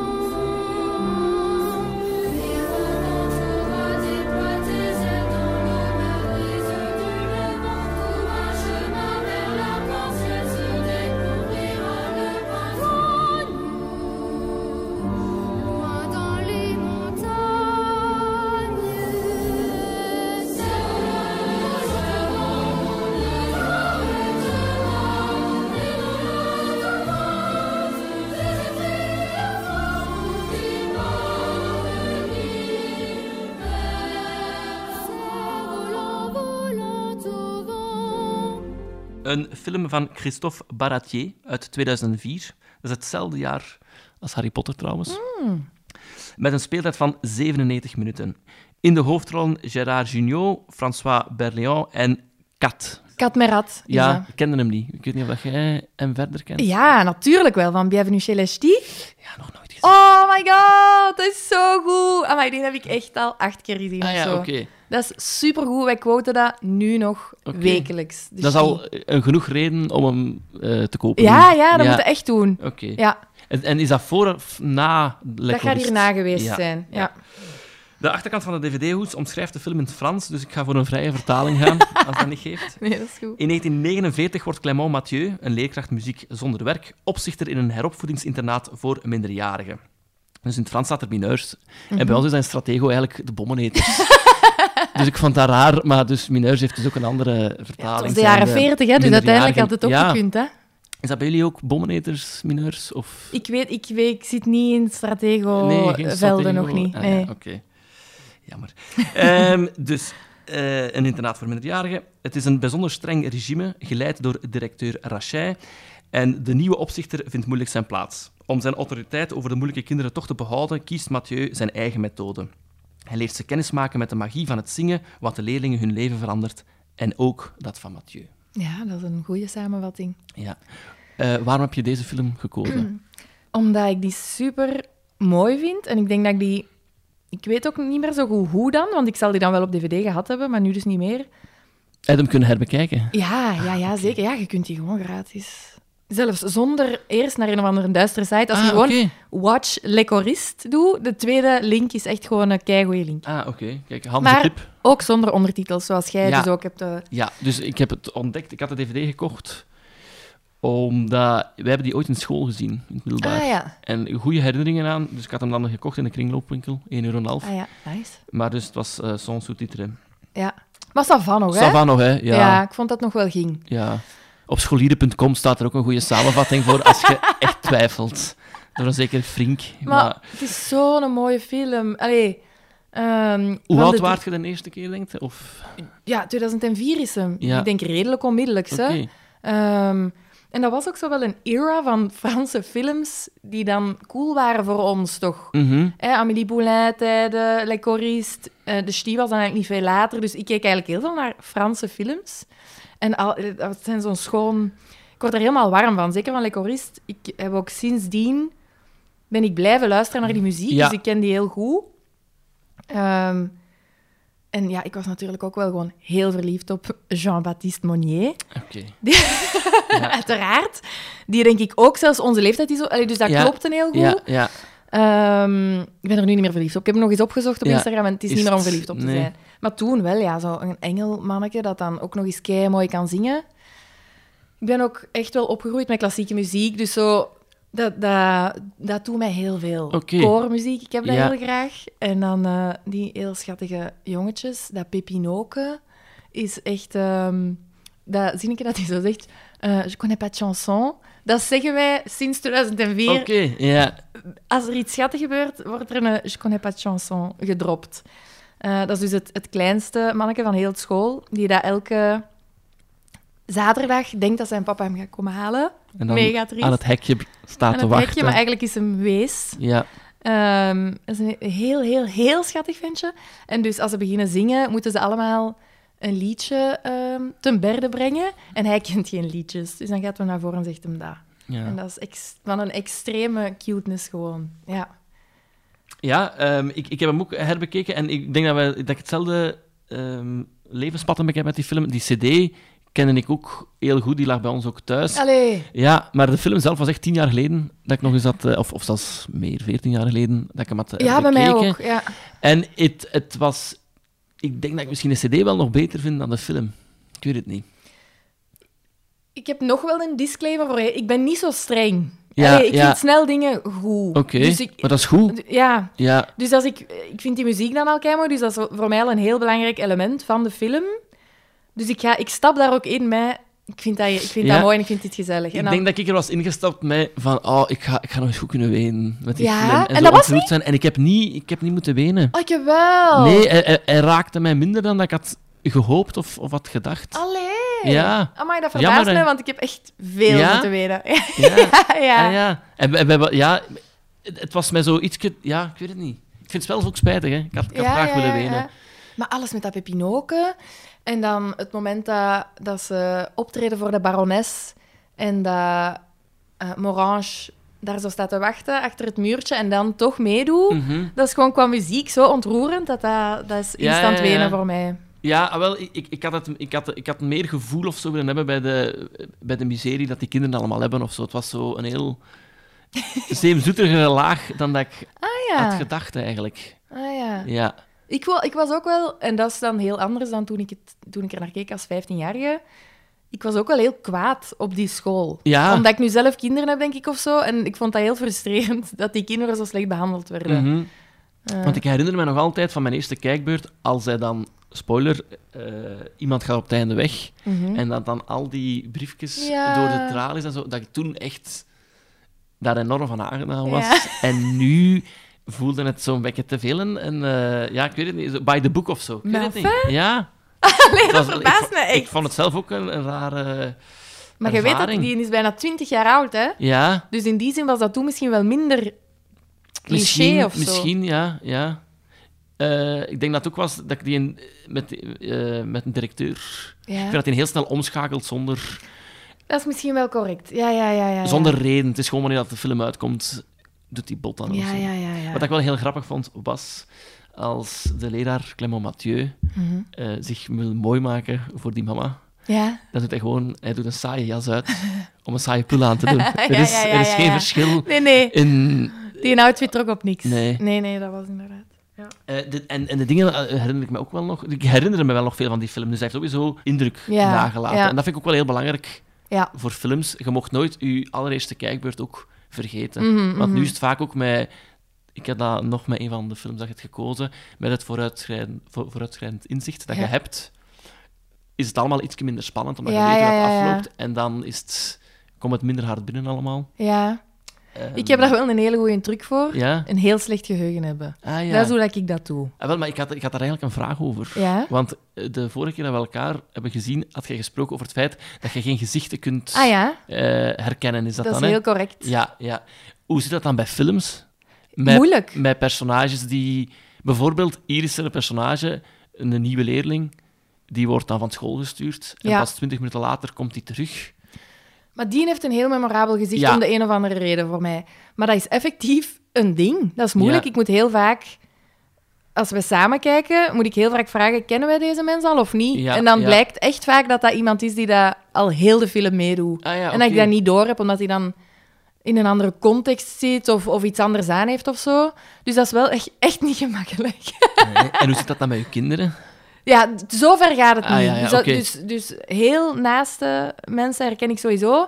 S3: les renards sauvage et protégés dans l'ombre brise du levant, pour un chemin vers l'arc-en-ciel se découvrira le printemps. Loin dans les montagnes, volant, volant au vent.
S1: Een film van Christophe Baratier uit 2004. Dat is hetzelfde jaar als Harry Potter trouwens. Hmm. Met een speeltijd van 97 minuten. In de hoofdrollen Gérard Jugnot, François Berléand en Kat.
S2: Kat Merat. is
S1: Ja,
S2: dat.
S1: ik kende hem niet. Ik weet niet of jij hem verder kent.
S2: Ja, natuurlijk wel, van Bienvenue chez les Ch'tis.
S1: Ja, nog nooit gezien.
S2: Oh my god, dat is zo goed. Amai, die heb ik echt al acht keer gezien.
S1: ah
S2: of
S1: ja,
S2: zo. Dus
S1: oké.
S2: Dat is supergoed. Wij quoten dat nu nog
S1: Oké.
S2: wekelijks. Dus
S1: Dat is al eh,
S2: die-
S1: een genoeg reden om hem eh, te kopen.
S2: Ja, ja, dat moet je echt doen.
S1: Oké.
S2: Ja,
S1: En, en is dat voor of na Le
S2: dat gaat
S1: Colorist?
S2: hierna geweest
S1: Ja.
S2: zijn. Ja.
S1: De achterkant van de DVD-hoes omschrijft de film in het Frans, dus ik ga voor een vrije vertaling gaan, als dat niet geeft.
S2: Nee, dat is goed.
S1: In 1949 wordt Clément Mathieu, een leerkracht muziek zonder werk, opzichter in een heropvoedingsinternaat voor minderjarigen. Dus in het Frans staat er mineurs.
S2: Mhm.
S1: En bij ons is dat in Stratego eigenlijk de bommeneters. dus ik vond dat raar, maar dus mineurs heeft dus ook een andere vertaling.
S2: Het was de jaren
S1: Zijn de
S2: 40, hè, dus uiteindelijk had het ook
S1: minderjarigen- Ja.
S2: gekund. Hè?
S1: Is dat bij jullie ook bommeneters, mineurs? Of...
S2: Ik weet, ik weet, ik zit niet in
S1: geen
S2: Stratego-velden
S1: strategie.
S2: nog niet.
S1: Ah, ja,
S2: nee.
S1: Oké. Jammer. Ehm, dus, eh, een internaat voor minderjarigen. Het is een bijzonder streng regime, geleid door directeur Rachet. En de nieuwe opzichter vindt moeilijk zijn plaats. Om zijn autoriteit over de moeilijke kinderen toch te behouden, kiest Mathieu zijn eigen methode. Hij leert ze kennis maken met de magie van het zingen, wat de leerlingen hun leven verandert. En ook dat van Mathieu.
S2: Ja, dat is een goede samenvatting.
S1: Ja. Eh, waarom heb je deze film
S2: Mm.
S1: gekozen?
S2: Omdat ik die super mooi vind. En ik denk dat ik die. Ik weet ook niet meer zo goed hoe dan, want ik zal die dan wel op DVD gehad hebben, maar nu dus niet meer. Ah,
S1: Heb je hem kunnen herbekijken?
S2: Ja, ja, ja zeker. Ja, je kunt die gewoon gratis. Zelfs zonder eerst naar een of andere duistere site. Als je
S1: Ah,
S2: gewoon
S1: oké.
S2: Watch Lecorist doet, de tweede link is echt gewoon een keigoeie link.
S1: Ah, oké. Kijk, handige
S2: Maar
S1: tip.
S2: ook zonder ondertitels, zoals jij
S1: Ja.
S2: dus ook hebt. eh,
S1: Ja, dus ik heb het ontdekt. Ik had de DVD gekocht omdat we hebben die ooit in school gezien, in het middelbaar.
S2: Ah ja.
S1: En goede herinneringen aan, dus ik had hem dan gekocht in de kringloopwinkel, 1,5 euro.
S2: Ah ja, nice.
S1: Maar dus het was eh sans sous-titres.
S2: Ja. Maar Savan nog, hè?
S1: Savano, hè? Ja.
S2: ja.
S1: ja.
S2: ik vond dat nog wel ging.
S1: Op scholieren.com staat er ook een goede samenvatting voor als je echt twijfelt. Door een zekere Frink. Maar,
S2: Maar het is zo'n mooie film. Allee. ehm,
S1: hoe
S2: van
S1: oud
S2: de-
S1: waart je de eerste keer, denkt je? Of...
S2: Ja, 2004 is hem.
S1: Ja.
S2: Ik denk redelijk onmiddellijk, hè?
S1: Oké.
S2: Ehm, en dat was ook zo wel een era van Franse films die dan cool waren voor ons, toch?
S1: Mhm.
S2: Hè, Amélie Boulin-tijden, Le Coriste, eh, De Ch'ti was dan eigenlijk niet veel later. Dus ik keek eigenlijk heel veel naar Franse films. En al, eh, dat zijn zo'n schoon... Ik word er helemaal warm van, zeker van Le Coriste. Ik heb ook sindsdien... Ben ik blijven luisteren naar die muziek,
S1: Ja.
S2: dus ik ken die heel goed. Ehm, en ja, ik was natuurlijk ook wel gewoon heel verliefd op Jean-Baptiste Monnier.
S1: Oké.
S2: Uiteraard. Die denk ik ook zelfs onze leeftijd is. Allee, dus dat
S1: Ja.
S2: klopte heel goed.
S1: Ja, ja.
S2: Ehm, ik ben er nu niet meer verliefd op. Ik heb hem nog eens opgezocht op
S1: Ja,
S2: Instagram en het is,
S1: is
S2: niet meer om
S1: het-
S2: verliefd op te
S1: nee.
S2: zijn. Maar toen wel, ja, zo'n engelmanneke dat dan ook nog eens kei mooi kan zingen. Ik ben ook echt wel opgegroeid met klassieke muziek, dus zo, dat, dat, dat doet mij heel veel.
S1: Oké.
S2: Koormuziek, ik heb dat
S1: Ja.
S2: heel graag. En dan eh, die heel schattige jongetjes, dat Pepinoke is echt... ehm dat zinnetje dat hij zo zegt, eh, je connais pas de chanson, dat zeggen wij sinds 2004
S1: Oké, ja.
S2: als er iets schattig gebeurt, wordt er een Je connais pas de chanson gedropt. Eh, dat is dus het, het kleinste manneke van heel het school, die dat elke zaterdag denkt dat zijn papa hem gaat komen halen.
S1: En dan
S2: Mega triest.
S1: aan het hekje staat
S2: Aan
S1: te
S2: het
S1: wachten.
S2: hekje, maar eigenlijk is hem wees.
S1: Ja.
S2: Ehm, dat is een heel, heel, heel schattig ventje. En dus als ze beginnen zingen, moeten ze allemaal een liedje ehm, ten berde brengen. En hij kent geen liedjes. Dus dan gaat hij naar voren en zegt hem dat. En
S1: Ja,
S2: dat is ex- van een extreme cuteness gewoon. Ja.
S1: ja ehm, ik, ik heb hem ook herbekeken en ik denk dat, wij, dat ik hetzelfde ehm levenspad heb ik met die film. Die cd kende ik ook heel goed, die lag bij ons ook thuis.
S2: Allee.
S1: Ja, maar de film zelf was echt tien jaar geleden dat ik nog eens had, eh, of, of zelfs meer, veertien jaar geleden, dat ik hem had eh,
S2: Ja, bij mij
S1: bekeken.
S2: ook. Ja.
S1: En het, het was... Ik denk dat ik misschien de cd wel nog beter vind dan de film. Ik weet het niet.
S2: Ik heb nog wel een disclaimer voor je. Ik ben niet zo streng.
S1: Ja,
S2: Allee, ik
S1: ja.
S2: vind snel dingen goed.
S1: Oké,
S2: Dus ik,
S1: maar dat is goed.
S2: ja,
S1: Ja,
S2: Dus als ik, ik vind die muziek dan al keimooi, dus dat is voor mij al een heel belangrijk element van de film. Dus ik, ga, ik stap daar ook in met, ik vind dat, ik vind
S1: Ja.
S2: dat mooi en ik vind dit gezellig.
S1: ik
S2: en dan-
S1: denk dat ik er was ingestapt met van, oh, ik ga, ik ga nog eens goed kunnen wenen met die
S2: Ja,
S1: film.
S2: en
S1: zo
S2: dat was
S1: ontroerd zijn. En ik heb niet, ik heb niet moeten wenen.
S2: Oh, ik heb wel.
S1: Nee, hij, hij- hij raakte mij minder dan dat ik had gehoopt of, of had gedacht.
S2: Oh. Allee.
S1: Ja.
S2: Amai, dat
S1: Jammer,
S2: verbaast
S1: hè.
S2: mij, want ik heb echt veel
S1: Ja?
S2: moeten weten.
S1: Ja,
S2: ja, ja.
S1: Ah, ja. En, we- en we hebben- ja, het, het was mij zo iets... Ja, ik weet het niet. Ik vind het wel ook spijtig, hè. Ik had, ik had
S2: Ja,
S1: graag
S2: ja,
S1: willen
S2: ja,
S1: wenen.
S2: ja. Maar alles met dat pepinoken. En dan het moment dat, dat ze optreden voor de barones. En dat eh, Morange daar zo staat te wachten achter het muurtje en dan toch meedoet.
S1: Mhm.
S2: Dat is gewoon qua muziek zo ontroerend. Dat, dat, dat is
S1: Ja,
S2: instant
S1: ja, ja.
S2: wenen voor mij.
S1: Ja, ah, wel, ik- ik, ik, had het, ik, had, ik had meer gevoel of zo willen hebben bij de, bij de miserie dat die kinderen allemaal hebben of zo. Het was zo een heel zeemzoeterigere laag dan dat ik
S2: Ah ja.
S1: had gedacht eigenlijk.
S2: Ah, ja.
S1: Ja,
S2: Ik, wa- ik was ook wel, en dat is dan heel anders dan toen ik, het, toen ik er naar keek als 15-jarige. Ik was ook wel heel kwaad op die school.
S1: ja.
S2: Omdat ik nu zelf kinderen heb, denk ik, of zo. En ik vond dat heel frustrerend dat die kinderen zo slecht behandeld werden.
S1: Mhm.
S2: Eh,
S1: want ik herinner me nog altijd van mijn eerste kijkbeurt, als hij dan, spoiler, eh, iemand gaat op het einde weg
S2: mhm.
S1: en dat dan al die briefjes
S2: Ja.
S1: door de tralies en zo, dat ik toen echt daar enorm van aangedaan was.
S2: Ja.
S1: En nu voelde het zo'n beetje te veel. En, en, eh, ja, ik weet het niet. zo By the book of zo. Ik weet
S2: Maar
S1: het niet. Ja.
S2: Allee,
S1: Het
S2: dat
S1: was-
S2: verbaast
S1: ik,
S2: me echt.
S1: Ik vond het zelf ook een, een rare...
S2: maar je weet dat
S1: ervaring.
S2: die is bijna 20 jaar oud, hè?
S1: Ja,
S2: Dus in die zin was dat toen misschien wel minder cliché
S1: misschien,
S2: of zo.
S1: misschien ja. ja. Eh, ik denk dat het ook was dat ik die een- met, eh, met een directeur...
S2: Ja.
S1: Ik vind dat hij heel snel omschakelt zonder,
S2: Dat is misschien wel correct. Ja, ja, ja. ja, ja.
S1: zonder reden. Het is gewoon wanneer dat de film uitkomt, doet die bot aan. of
S2: Ja,
S1: zo.
S2: ja, ja. ja.
S1: Wat ik wel heel grappig vond, was als de leraar Clement Mathieu
S2: Mhm.
S1: eh, zich wil mooi maken voor die mama.
S2: Ja.
S1: Dan doet hij gewoon hij doet een saaie jas uit om een saaie pull aan te doen.
S2: Ja,
S1: er is,
S2: ja, ja,
S1: er is
S2: ja,
S1: geen
S2: ja.
S1: verschil
S2: Nee, nee.
S1: in
S2: Die outfit trok op niks.
S1: Nee.
S2: Nee, nee, dat was inderdaad. Ja.
S1: Eh, dit- en, en de dingen eh, herinner ik me ook wel nog. Ik herinner me wel nog veel van die film, dus hij heeft sowieso indruk
S2: Ja,
S1: nagelaten.
S2: ja.
S1: En dat vind ik ook wel heel belangrijk
S2: Ja.
S1: voor films. Je mocht nooit je allereerste kijkbeurt ook vergeten.
S2: Mhm,
S1: Want
S2: mhm.
S1: nu is het vaak ook met... Ik heb dat nog met een van de films dat je hebt gekozen, met het vooruitschrijdend, voor, vooruitschrijdend inzicht dat je
S2: Ja.
S1: hebt, is het allemaal iets minder spannend, omdat
S2: Ja,
S1: je weet hoe
S2: ja,
S1: dat
S2: ja, ja.
S1: afloopt. En dan is het, komt het minder hard binnen allemaal.
S2: ja.
S1: Ehm,
S2: Ik heb daar wel een hele goede truc voor.
S1: Ja?
S2: Een heel slecht geheugen hebben.
S1: Ah, ja.
S2: Dat is hoe dat ik dat doe.
S1: Ah, wel, maar ik had, ik had daar eigenlijk een vraag over.
S2: Ja?
S1: Want eh, de vorige keer dat we elkaar hebben gezien, had jij gesproken over het feit dat je geen gezichten kunt
S2: Ah ja,
S1: eh, herkennen. Is dat,
S2: dat is
S1: dan, hè?
S2: heel correct.
S1: Ja, ja. Hoe zit dat dan bij films? Met,
S2: Moeilijk.
S1: Met personages die... Bijvoorbeeld, hier is er een personage, een nieuwe leerling, die wordt dan van school gestuurd. En
S2: Ja.
S1: pas twintig minuten later komt hij terug.
S2: Maar die heeft een heel memorabel gezicht
S1: Ja.
S2: om de een of andere reden voor mij. Maar dat is effectief een ding. Dat is moeilijk. Ik moet heel vaak, als we samen kijken, moet ik heel vaak vragen: kennen wij deze mens al of niet?
S1: Ja,
S2: en dan
S1: ja.
S2: blijkt echt vaak dat dat iemand is die dat al heel de film meedoet.
S1: Ah ja,
S2: En dat ik
S1: oké.
S2: dat niet door heb, omdat hij dan in een andere context zit of, of iets anders aan heeft of zo. Dus dat is wel echt, echt niet gemakkelijk.
S1: Nee. En hoe zit dat dan met je kinderen?
S2: Ja, d- zover gaat het
S1: Ah,
S2: niet.
S1: ja, ja,
S2: dus, dat-
S1: oké.
S2: dus, dus heel naaste mensen herken ik sowieso.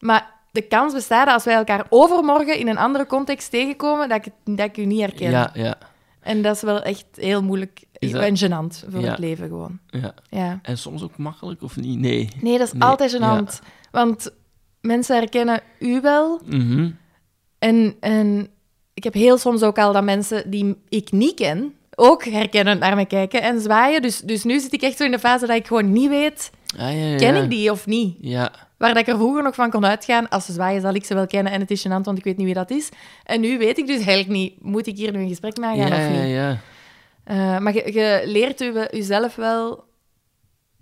S2: Maar de kans bestaat dat als wij elkaar overmorgen in een andere context tegenkomen, dat ik, het- dat ik u niet herken.
S1: Ja, ja,
S2: En dat is wel echt heel moeilijk
S1: Is dat-
S2: en gênant voor
S1: Ja.
S2: het leven gewoon.
S1: ja.
S2: Ja.
S1: En soms ook makkelijk, of niet? Nee.
S2: Nee, dat is
S1: Nee,
S2: altijd gênant. Want mensen herkennen u wel.
S1: Mhm.
S2: En, en ik heb heel soms ook al dat mensen die ik niet ken, ook herkennend naar me kijken en zwaaien. Dus, dus nu zit ik echt zo in de fase dat ik gewoon niet weet...
S1: Ah, ja, ja,
S2: Ken
S1: ja.
S2: ik die of niet?
S1: Ja.
S2: Waar dat ik er vroeger nog van kon uitgaan, als ze zwaaien zal ik ze wel kennen en het is gênant, want ik weet niet wie dat is. En nu weet ik dus eigenlijk niet, moet ik hier nu een gesprek mee
S1: Ja,
S2: gaan of
S1: ja,
S2: niet?
S1: ja.
S2: Eh, maar je, je leert je, jezelf wel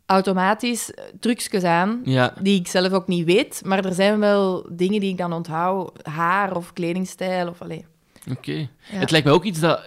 S2: automatisch eh, trucjes aan.
S1: Ja,
S2: Die ik zelf ook niet weet, maar er zijn wel dingen die ik dan onthoud. Haar of kledingstijl of alleen.
S1: oké. Het lijkt mij ook iets dat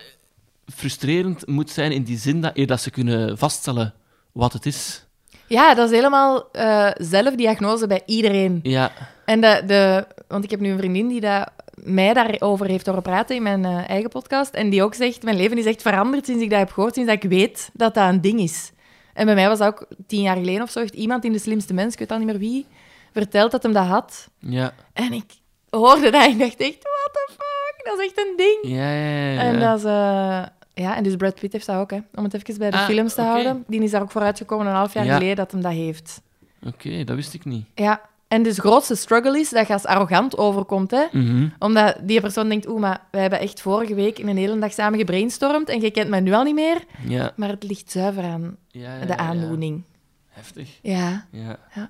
S1: frustrerend moet zijn in die zin dat eer dat ze kunnen vaststellen wat het is.
S2: Ja, dat is helemaal eh zelf diagnose bij iedereen.
S1: Ja,
S2: En de, de, want ik heb nu een vriendin die dat, mij daarover heeft horen praten in mijn eh, eigen podcast. En die ook zegt, mijn leven is echt veranderd sinds ik dat heb gehoord, sinds dat ik weet dat dat een ding is. En bij mij was dat ook tien jaar geleden of zo. Heeft iemand in De Slimste Mens, ik weet al niet meer wie, verteld dat hem dat had.
S1: ja,
S2: En ik hoorde dat en ik dacht echt, what the fuck, dat is echt een ding.
S1: ja, ja. ja,
S2: En
S1: ja.
S2: dat is, eh, ja, en dus Brad Pitt heeft dat ook, hè. Om het even bij de
S1: Ah,
S2: films te
S1: oké.
S2: houden. Die is daar ook vooruitgekomen een half jaar
S1: Ja.
S2: geleden dat hem dat heeft.
S1: Oké, dat wist ik niet.
S2: Ja. En dus grootste struggle is dat je als arrogant overkomt, hè.
S1: Mhm.
S2: Omdat die persoon denkt, oeh, maar wij hebben echt vorige week een hele dag samen gebrainstormd en je kent mij nu al niet meer.
S1: Ja,
S2: Maar het ligt zuiver aan
S1: ja, ja,
S2: de
S1: ja.
S2: aandoening.
S1: Heftig.
S2: Ja.
S1: Ja.
S2: Ja.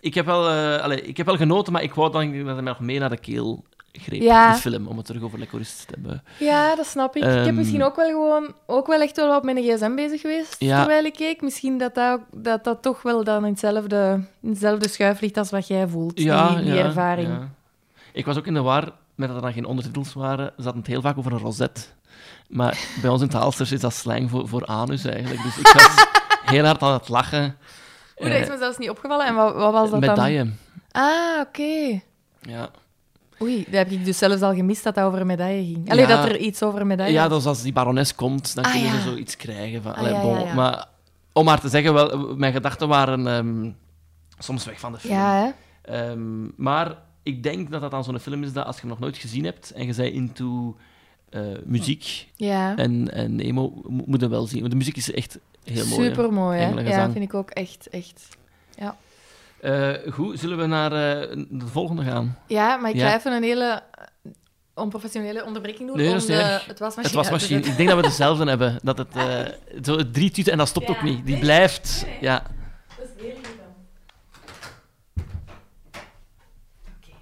S1: Ik, heb wel, eh, allee, ik heb wel genoten, maar ik wou dan dat hij mij nog mee naar de keel greep.
S2: Ja.
S1: De film, om het terug over Lecorist te hebben.
S2: Ja, dat snap ik. ik heb
S1: Ehm.
S2: misschien ook wel gewoon, ook wel echt wel wat op mijn gsm bezig geweest
S1: Ja.
S2: terwijl ik keek. Misschien dat dat, ook- dat dat toch wel dan in hetzelfde, in hetzelfde schuif ligt als wat jij voelt, die, die ervaring.
S1: ja. Ik was ook in de war, met dat er dan geen ondertitels waren, zat het heel vaak over een roset. Maar bij ons in het Haalsters is dat slang voor, voor anus eigenlijk. Dus ik was heel hard aan het lachen.
S2: Oeh, dat is
S1: Eh,
S2: me zelfs niet opgevallen. En wat, wat was dat dan?
S1: medaille.
S2: Ah, oké.
S1: Ja.
S2: Oei, dat heb ik dus zelfs al gemist dat dat over een medaille ging. Alleen
S1: Ja.
S2: dat er iets over een medaille
S1: ja,
S2: was.
S1: dus als die barones komt, dan
S2: Ah,
S1: kunnen
S2: ja.
S1: ze zoiets krijgen. Van,
S2: Ah,
S1: allee,
S2: ja,
S1: bon.
S2: ja, ja.
S1: Maar om maar te zeggen, wel, mijn gedachten waren ehm, soms weg van de film.
S2: Ja, hè?
S1: Ehm, maar ik denk dat dat dan zo'n film is dat als je hem nog nooit gezien hebt en je bent into eh, muziek
S2: Ja.
S1: en, en emo, mo- moet je wel zien. Want de muziek is echt heel mooi. hè.
S2: Super mooi, hè?
S1: Engelen
S2: Ja,
S1: gezang.
S2: vind ik ook echt, echt.
S1: Eh, goed, zullen we naar eh, de volgende gaan?
S2: Ja, maar ik
S1: Ja.
S2: ga even een hele eh, onprofessionele onderbreking doen
S1: Nee, dat
S2: om
S1: is
S2: de,
S1: niet erg.
S2: het Dus wasmachine
S1: Het
S2: uit te
S1: wasmachine.
S2: zetten.
S1: Ik denk dat we dezelfde hebben. Dat het eh, zo het drie tuut en dat stopt
S2: Ja.
S1: ook niet. Die
S2: Nee.
S1: blijft.
S2: Nee, nee.
S1: Ja.
S2: Dat is heel irritant. Oké.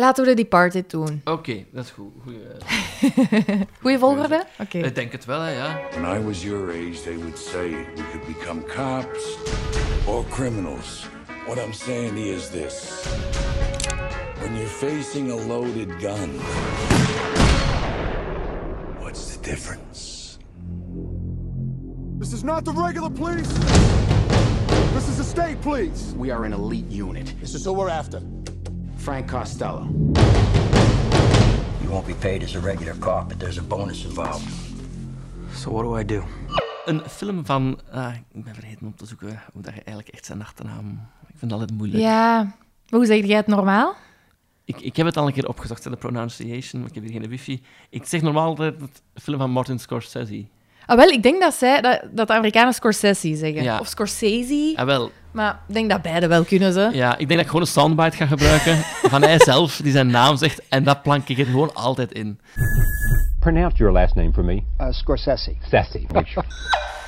S2: Laten we de Departed doen.
S1: Oké, dat is goed. Goeie, eh,
S2: Goeie volgorde? Oké.
S1: Ik denk het wel, hè, ja.
S4: When I was your age, they would say we could become cops or criminals. What I'm saying is this when you're facing a loaded gun, what's the difference?
S5: This is not the regular police. This is the state police.
S6: We are an elite unit.
S5: This is who we're after.
S6: Frank Costello.
S7: You won't be paid as a regular cop, but there's a bonus involved.
S6: So what do I do?
S1: Een film van... ah, ik ben vergeten om te zoeken hoe dat je eigenlijk echt zijn achternaam... Ik vind dat altijd moeilijk.
S2: Ja, maar hoe zeg jij het normaal?
S1: Ik, ik heb het al een keer opgezocht, hè, de pronunciation, maar ik heb hier geen wifi. Ik zeg normaal altijd het film van Martin Scorsese.
S2: Ah, wel, ik denk dat, zij, dat, dat de Amerikanen Scorsese zeggen.
S1: Ja.
S2: Of Scorsese.
S1: Ah, wel.
S2: Maar ik denk dat beide wel kunnen, ze.
S1: Ja, ik denk dat ik gewoon een soundbite ga gebruiken van hij zelf, die zijn naam zegt, en dat plank ik er gewoon altijd in.
S8: Pronounce your last name for me.
S9: uh, Scorsese.
S8: Sessi.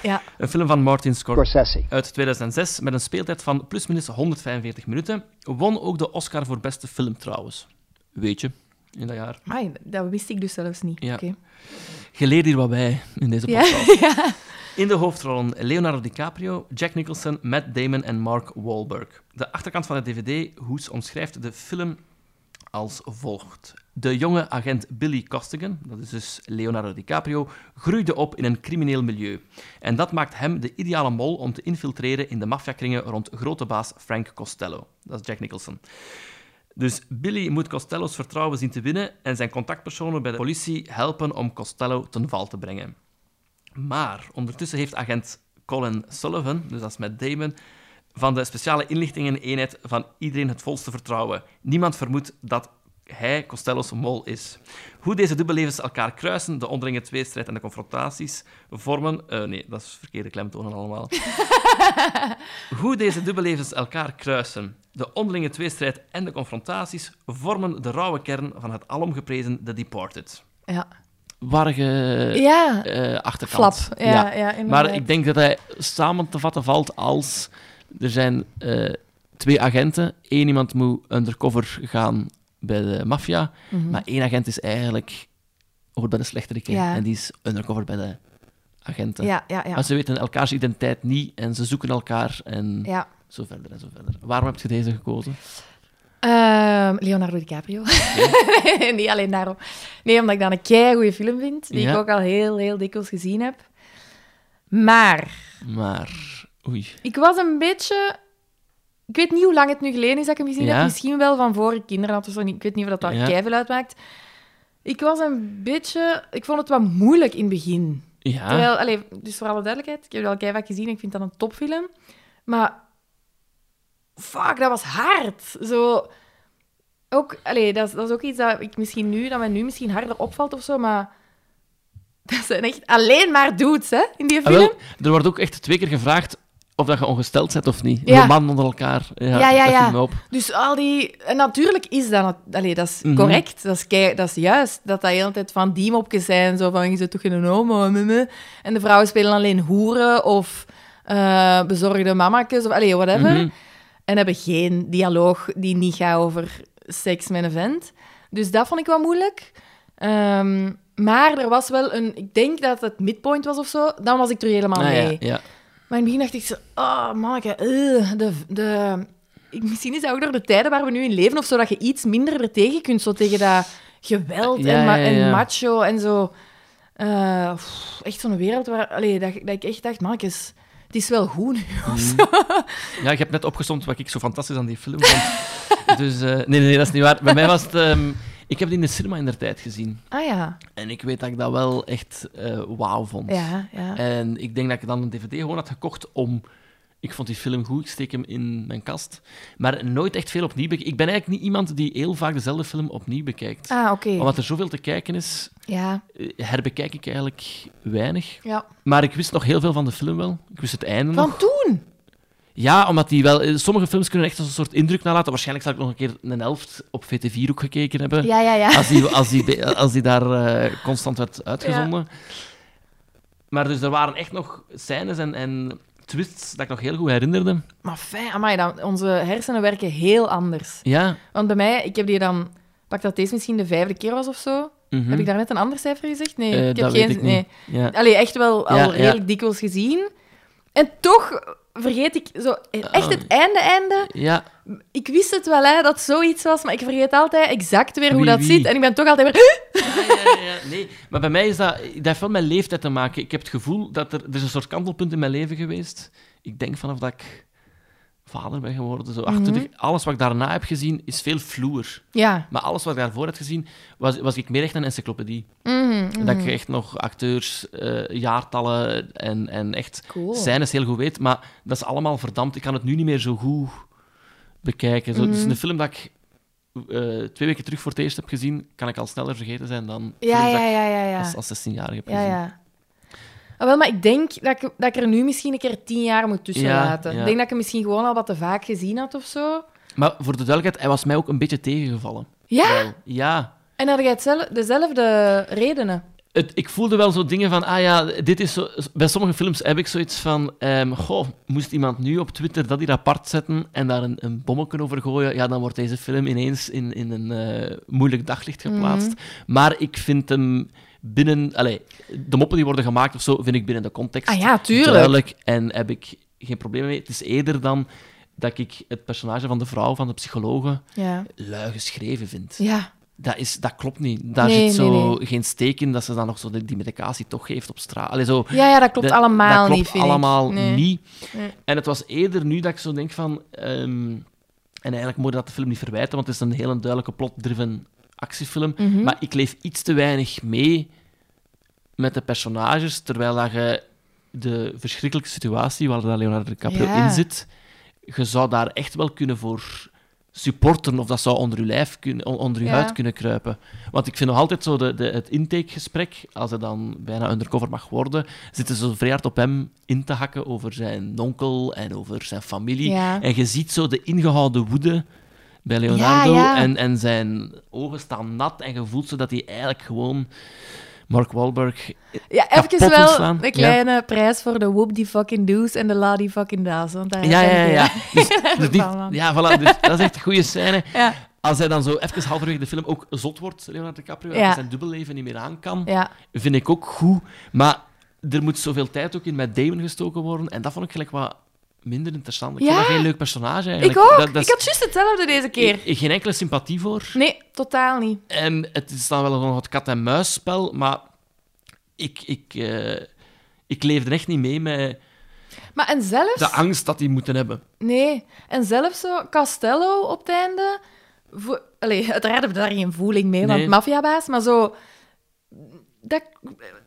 S2: Ja.
S1: Een film van Martin Scorsese.
S9: Scorsese.
S1: uit 2006 met een speeltijd van plusminus 145 minuten. Won ook de Oscar voor beste film trouwens. Weet je, in dat jaar.
S2: Amai, dat wist ik dus zelfs niet.
S1: Ja.
S2: Oké.
S1: Geleerd hier wat bij in deze
S2: Ja,
S1: podcast. In de hoofdrollen Leonardo DiCaprio, Jack Nicholson, Matt Damon en Mark Wahlberg. De achterkant van de DVD, Hoes, omschrijft de film als volgt. De jonge agent Billy Costigan, dat is dus Leonardo DiCaprio, groeide op in een crimineel milieu. En dat maakt hem de ideale mol om te infiltreren in de maffiakringen rond grote baas Frank Costello. Dat is Jack Nicholson. Dus Billy moet Costello's vertrouwen zien te winnen en zijn contactpersonen bij de politie helpen om Costello ten val te brengen. Maar ondertussen heeft agent Colin Sullivan, dus dat is met Damon, van de speciale inlichtingeneenheid van iedereen het volste vertrouwen. Niemand vermoedt dat hij Costello's mol is. Hoe deze dubbellevens elkaar kruisen, de onderlinge tweestrijd en de confrontaties vormen... eh, nee, dat is verkeerde klemtonen allemaal. Hoe deze dubbellevens elkaar kruisen, de onderlinge tweestrijd en de confrontaties vormen de rauwe kern van het alomgeprezen The Departed.
S2: ja.
S1: Warge...
S2: ja.
S1: eh, achterkant.
S2: Flap. Ja, ja. inderdaad.
S1: Maar ik denk dat hij samen te vatten valt als er zijn eh, twee agenten. Eén iemand moet undercover gaan bij de maffia,
S2: Mhm.
S1: maar één agent is eigenlijk hoort bij de slechterik
S2: Ja.
S1: en die is undercover bij de agenten.
S2: Ja, ja, ja.
S1: Maar ze weten elkaars identiteit niet en ze zoeken elkaar en
S2: ja.
S1: zo verder en zo verder. Waarom heb je deze gekozen?
S2: Ehm, Leonardo DiCaprio. niet alleen daarom. Nee, omdat ik dat een kei goede film vind, die ik
S1: Ja.
S2: ook al heel, heel dikwijls gezien heb. Maar
S1: Maar, oei.
S2: ik was een beetje... Ik weet niet hoe lang het nu geleden is dat ik hem gezien
S1: Ja.
S2: heb. Misschien wel van voor ik kinderen had of zo. Ik weet niet of dat daar
S1: Ja.
S2: keiveel uitmaakt. Ik was een beetje... Ik vond het wat moeilijk in het begin.
S1: Ja,
S2: Terwijl, allee, dus voor alle duidelijkheid, ik heb het al keihard gezien en ik vind dat een topfilm. Maar fuck, dat was hard. Zo, ook, allee, dat, is, dat is ook iets dat ik misschien nu, dat mij nu misschien harder opvalt of zo, maar dat zijn echt alleen maar dudes hè, in die
S1: Ah,
S2: film.
S1: wel, er wordt ook echt twee keer gevraagd of dat je ongesteld bent of niet.
S2: Ja.
S1: De mannen onder elkaar. Ja,
S2: Ja, ja,
S1: dat
S2: ja.
S1: viel me op.
S2: Dus al die... en natuurlijk is dat... nat- Allee, dat is
S1: Mhm.
S2: correct. Dat is, kei- dat is juist. Dat dat de hele tijd van die mopjes zijn. Zo van, je zit toch in een homo? meh, meh. En de vrouwen spelen alleen hoeren of eh, bezorgde mamakjes. Of allee, whatever.
S1: Mhm.
S2: En hebben geen dialoog die niet gaat over seks met een vent. Dus dat vond ik wel moeilijk. Ehm, maar er was wel een... Ik denk dat het midpoint was of zo. Dan was ik er helemaal
S1: Ah,
S2: mee.
S1: ja, ja.
S2: Maar in het begin dacht ik zo, oh manneke, eh, de, de... ik- Misschien is dat ook door de tijden waar we nu in leven of zo, dat je iets minder er tegen kunt, zo tegen dat geweld
S1: Ja,
S2: en, ma-
S1: ja, ja.
S2: en macho en zo. Eh, pff, echt zo'n wereld waar, allee, dat, dat ik echt dacht, mannekes, het is wel goed nu
S1: Mm.
S2: of zo.
S1: Ja, je hebt net opgezomd wat ik zo fantastisch aan die film vond. dus, eh, nee, nee, nee, dat is niet waar. Bij mij was het... ehm, ik heb die in de cinema in der tijd gezien.
S2: Ah ja,
S1: En ik weet dat ik dat wel echt eh, wauw vond.
S2: ja, ja.
S1: En ik denk dat ik dan een dvd gewoon had gekocht om... Ik vond die film goed, ik steek hem in mijn kast. Maar nooit echt veel opnieuw bekijken. Ik ben eigenlijk niet iemand die heel vaak dezelfde film opnieuw bekijkt.
S2: Ah, oké.
S1: Omdat er zoveel te kijken is,
S2: Ja,
S1: eh, herbekijk ik eigenlijk weinig.
S2: ja.
S1: Maar ik wist nog heel veel van de film wel. Ik wist het einde nog.
S2: Van toen?
S1: Ja, omdat die wel... eh, Sommige films kunnen echt als een soort indruk nalaten. Waarschijnlijk zal ik nog een keer een helft op VT4 ook gekeken hebben.
S2: Ja, ja, ja.
S1: Als, die, als, die, be- als die daar eh, constant werd uitgezonden. Maar dus er waren echt nog scènes en, en twists dat ik nog heel goed herinnerde.
S2: Maar fijn, amai, dan, onze hersenen werken heel anders.
S1: Ja.
S2: Want bij mij, ik heb die dan... Pak dat deze misschien de vijfde keer was of zo.
S1: mhm.
S2: Heb ik daar net een ander cijfer gezegd? Nee,
S1: Eh,
S2: ik heb
S1: dat
S2: geen...
S1: weet ik niet.
S2: nee.
S1: Ja.
S2: Allee, echt wel al
S1: Ja, ja.
S2: redelijk dikwijls gezien. En toch vergeet ik zo eh,
S1: Ah.
S2: echt het einde, einde.
S1: ja.
S2: Ik wist het wel, hè, dat zoiets was, maar ik vergeet altijd exact weer hoe
S1: Wie,
S2: dat
S1: wie?
S2: zit. En ik ben toch altijd weer...
S1: Ja, ja, ja, Nee, maar bij mij is dat... Dat heeft wel met leeftijd te maken. Ik heb het gevoel dat er... Er is een soort kantelpunt in mijn leven geweest. Ik denk vanaf dat ik vader ben geworden, zo 28. Alles wat ik daarna heb gezien, is veel vloer.
S2: Ja.
S1: Maar alles wat ik daarvoor had gezien, was, was ik meer echt een encyclopedie.
S2: Mhm,
S1: Dat ik echt nog acteurs, eh, jaartallen en, en echt
S2: Cool.
S1: scènes heel goed weet. Maar dat is allemaal verdampt. Ik kan het nu niet meer zo goed bekijken. Zo, Het
S2: Mhm.
S1: is een film dat ik eh, twee weken terug voor het eerst heb gezien, kan ik al sneller vergeten zijn dan
S2: Ja,
S1: films
S2: ja,
S1: dat ik
S2: ja, ja, ja.
S1: als, als 16-jarige heb
S2: Ja,
S1: gezien.
S2: ja. Ah, wel, maar ik denk dat ik, dat ik er nu misschien een keer tien jaar moet tussen
S1: Ja,
S2: laten.
S1: ja.
S2: Ik denk dat ik hem misschien gewoon al wat te vaak gezien had of zo.
S1: Maar voor de duidelijkheid, hij was mij ook een beetje tegengevallen.
S2: Ja?
S1: Wel, ja.
S2: En had jij hetzelfde- dezelfde redenen?
S1: Het, ik voelde wel zo dingen van, ah ja, dit is zo... Bij sommige films heb ik zoiets van, ehm, goh, moest iemand nu op Twitter dat hier apart zetten en daar een, een bommetje over gooien, ja, dan wordt deze film ineens in, in een eh, moeilijk daglicht geplaatst.
S2: Mhm.
S1: Maar ik vind hem binnen... Allee, de moppen die worden gemaakt of zo, vind ik binnen de context
S2: Ah ja, tuurlijk.
S1: duidelijk en heb ik geen probleem mee. Het is eerder dan dat ik het personage van de vrouw, van de psychologe,
S2: Ja.
S1: lui geschreven vind
S2: Ja.
S1: dat, is, dat klopt niet. Daar
S2: Nee,
S1: zit zo
S2: nee, nee.
S1: geen steek in dat ze dan nog zo die, die medicatie toch geeft op straat. Allee, zo,
S2: Ja, ja, dat klopt
S1: dat-
S2: allemaal
S1: dat klopt
S2: niet, vind ik.
S1: allemaal
S2: Nee.
S1: niet.
S2: Nee.
S1: En het was eerder nu dat ik zo denk van... ehm, en eigenlijk moet je dat de film niet verwijten, want het is een heel duidelijke plot-driven actiefilm.
S2: Mhm.
S1: Maar ik leef iets te weinig mee met de personages, terwijl dat je de verschrikkelijke situatie waar dat Leonardo DiCaprio
S2: Ja.
S1: in zit, je zou daar echt wel kunnen voor supporteren of dat zou onder je lijf kunnen, on- onder je
S2: Ja.
S1: huid kunnen kruipen. Want ik vind nog altijd zo de, de, het intakegesprek, als hij dan bijna undercover mag worden, zitten ze zo vrij hard op hem in te hakken over zijn onkel en over zijn familie.
S2: Ja.
S1: En je ziet zo de ingehouden woede bij Leonardo
S2: Ja, ja.
S1: En, en zijn ogen staan nat en je voelt zo dat hij eigenlijk gewoon Mark Wahlberg...
S2: Ja,
S1: kapot
S2: even wel
S1: ontslaan.
S2: een kleine prijs voor de whoop die fucking do's en de la die fucking da's. Want daar
S1: Ja, ja, ja. ja. Dus, dus die-
S2: van, man.
S1: ja, voilà, dus dat is echt een goede scène.
S2: Ja.
S1: Als hij dan zo even halverwege de film ook zot wordt, Leonardo DiCaprio, en
S2: Ja.
S1: zijn dubbelleven niet meer aan kan,
S2: Ja.
S1: vind ik ook goed. Maar er moet zoveel tijd ook in met Damon gestoken worden. En dat vond ik gelijk wat minder interessant. Ik
S2: Ja.
S1: vond dat geen leuk personage
S2: Ik
S1: eigenlijk.
S2: ook.
S1: Dat- dat is-
S2: Ik had juist hetzelfde deze keer.
S1: ge- Geen enkele sympathie voor.
S2: Nee, totaal niet.
S1: En het is dan wel nog het kat-en-muisspel, maar ik, ik, eh, ik leefde echt niet mee met
S2: Maar en zelfs...
S1: de angst dat die moeten hebben.
S2: Nee, en zelfs zo Castello op het einde... Vo- Allee, uiteraard hebben we daar geen voeling mee,
S1: Nee.
S2: want maffiabaas, maar zo... Dat...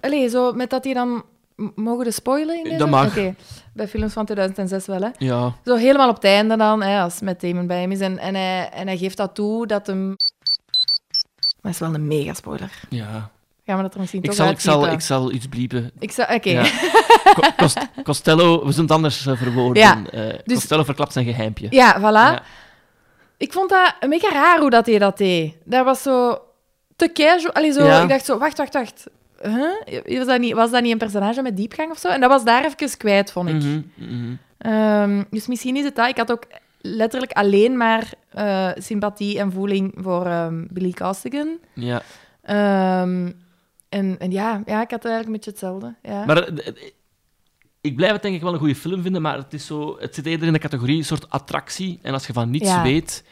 S2: Allee, zo met dat hij dan... M- Mogen we spoilen? In deze?
S1: Eh, Dat mag.
S2: Oké, Bij films van 2006 wel, hè.
S1: Ja.
S2: Zo helemaal op het einde dan, hè, als met Damon bij hem is. En, en, hij, en hij geeft dat toe, dat hem... Dat is wel een mega-spoiler.
S1: ja.
S2: Gaan we dat er misschien
S1: Ik,
S2: toch
S1: zal, ik, zal,
S2: uitpiepen?
S1: ik zal iets bliepen.
S2: Ik zal... Oké.
S1: Ja. Co- Cost- Costello, we zullen het anders eh, verwoorden.
S2: Ja,
S1: Eh,
S2: dus-
S1: Costello verklapt zijn geheimpje.
S2: Ja, voilà.
S1: Ja.
S2: Ik vond dat een beetje raar hoe dat hij dat deed. Dat was zo te casual. Allee, zo,
S1: Ja.
S2: Ik dacht zo, wacht, wacht, wacht. Huh? Was, dat niet, was dat niet een personage met diepgang of zo? En dat was daar even kwijt, vond ik.
S1: Mhm, mhm.
S2: Ehm, dus misschien is het dat. Ik had ook letterlijk alleen maar eh, sympathie en voeling voor ehm, Billy Costigan.
S1: ja.
S2: Ehm, en en ja, ja, ik had eigenlijk een beetje hetzelfde. Ja.
S1: Maar eh, eh, ik blijf het denk ik wel een goede film vinden, maar het, is zo, het zit eerder in de categorie een soort attractie. En als je van niets
S2: Ja.
S1: weet,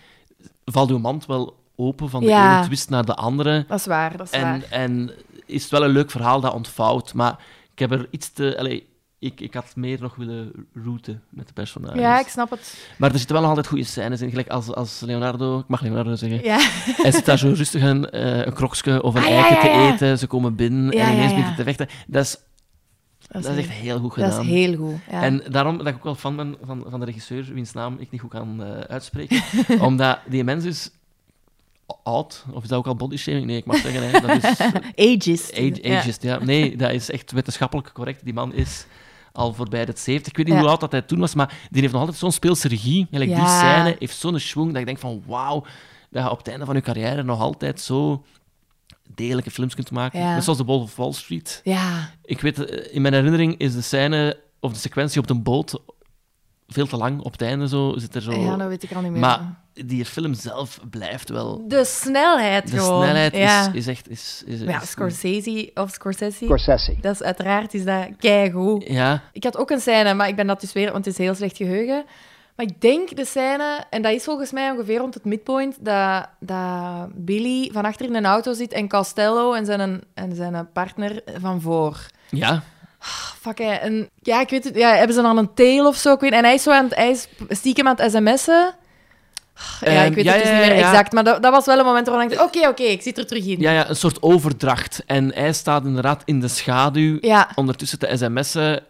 S1: valt je mand wel open van de
S2: Ja.
S1: ene twist naar de andere.
S2: dat is waar, dat is waar.
S1: En, en is het wel een leuk verhaal dat ontvouwt, maar ik heb er iets te... allee, ik, ik had meer nog willen routen met de personages.
S2: Ja, ik snap het.
S1: Maar er zitten wel nog altijd goede scènes in. Gelijk als, als Leonardo... Ik mag Leonardo zeggen.
S2: Ja.
S1: Hij zit daar zo rustig een, eh een krokske of een
S2: Ah, ja,
S1: eiken
S2: ja, ja.
S1: te eten. Ze komen binnen
S2: Ja,
S1: en
S2: ja,
S1: ineens
S2: ja.
S1: begint het te vechten. Dat is,
S2: Dat
S1: dat is echt heel goed gedaan.
S2: dat is heel goed. Ja.
S1: En daarom dat ik ook wel fan ben van, van de regisseur, wiens naam ik niet goed kan eh, uitspreken. omdat die mens is oud. Of is dat ook al body shaming? Nee, ik mag zeggen, hè, dat is
S2: Aegis.
S1: age,
S2: Ja.
S1: ageist. Ja. Nee, dat is echt wetenschappelijk correct. Die man is al voorbij de 70. Ik weet niet
S2: Ja.
S1: hoe oud dat hij toen was, maar die heeft nog altijd zo'n speelse regie. Gelijk Die
S2: Ja.
S1: scène heeft zo'n schwung dat ik denk van wauw, dat je op het einde van je carrière nog altijd zo degelijke films kunt maken.
S2: Ja.
S1: Net zoals de Wolf of Wall Street.
S2: Ja,
S1: Ik weet, eh, in mijn herinnering is de scène of de sequentie op de boot veel te lang. Op het einde zo zit er zo.
S2: ja, dat weet ik al niet meer.
S1: Oh. maar die film zelf blijft wel.
S2: de snelheid
S1: De
S2: gewoon.
S1: snelheid
S2: ja.
S1: is, is echt. Is, is,
S2: Maar ja,
S1: is-
S2: Scorsese of Scorsese.
S7: Corsessi.
S2: Dat is uiteraard is dat keigoed.
S1: Ja,
S2: Ik had ook een scène, maar ik ben dat dus weer, want het is heel slecht geheugen. Maar ik denk de scène, en dat is volgens mij ongeveer rond het midpoint, dat, dat Billy van achter in een auto zit en Costello en zijn, en zijn partner van voor. Oh,
S1: ja.
S2: Fuck, hè. En, ja, ik weet het. Ja, hebben ze dan een tail of zo? Ik weet, en hij is, zo aan het, hij is stiekem aan het sms'en. Ja,
S1: Ehm,
S2: ik weet
S1: ja,
S2: het dus
S1: ja,
S2: niet meer
S1: ja, ja.
S2: exact. Maar dat, dat was wel een moment waarvan ik dacht, oké, oké, ik zit er terug in.
S1: Ja, ja, een soort overdracht. En hij staat inderdaad in de schaduw.
S2: Ja.
S1: Ondertussen de sms'en.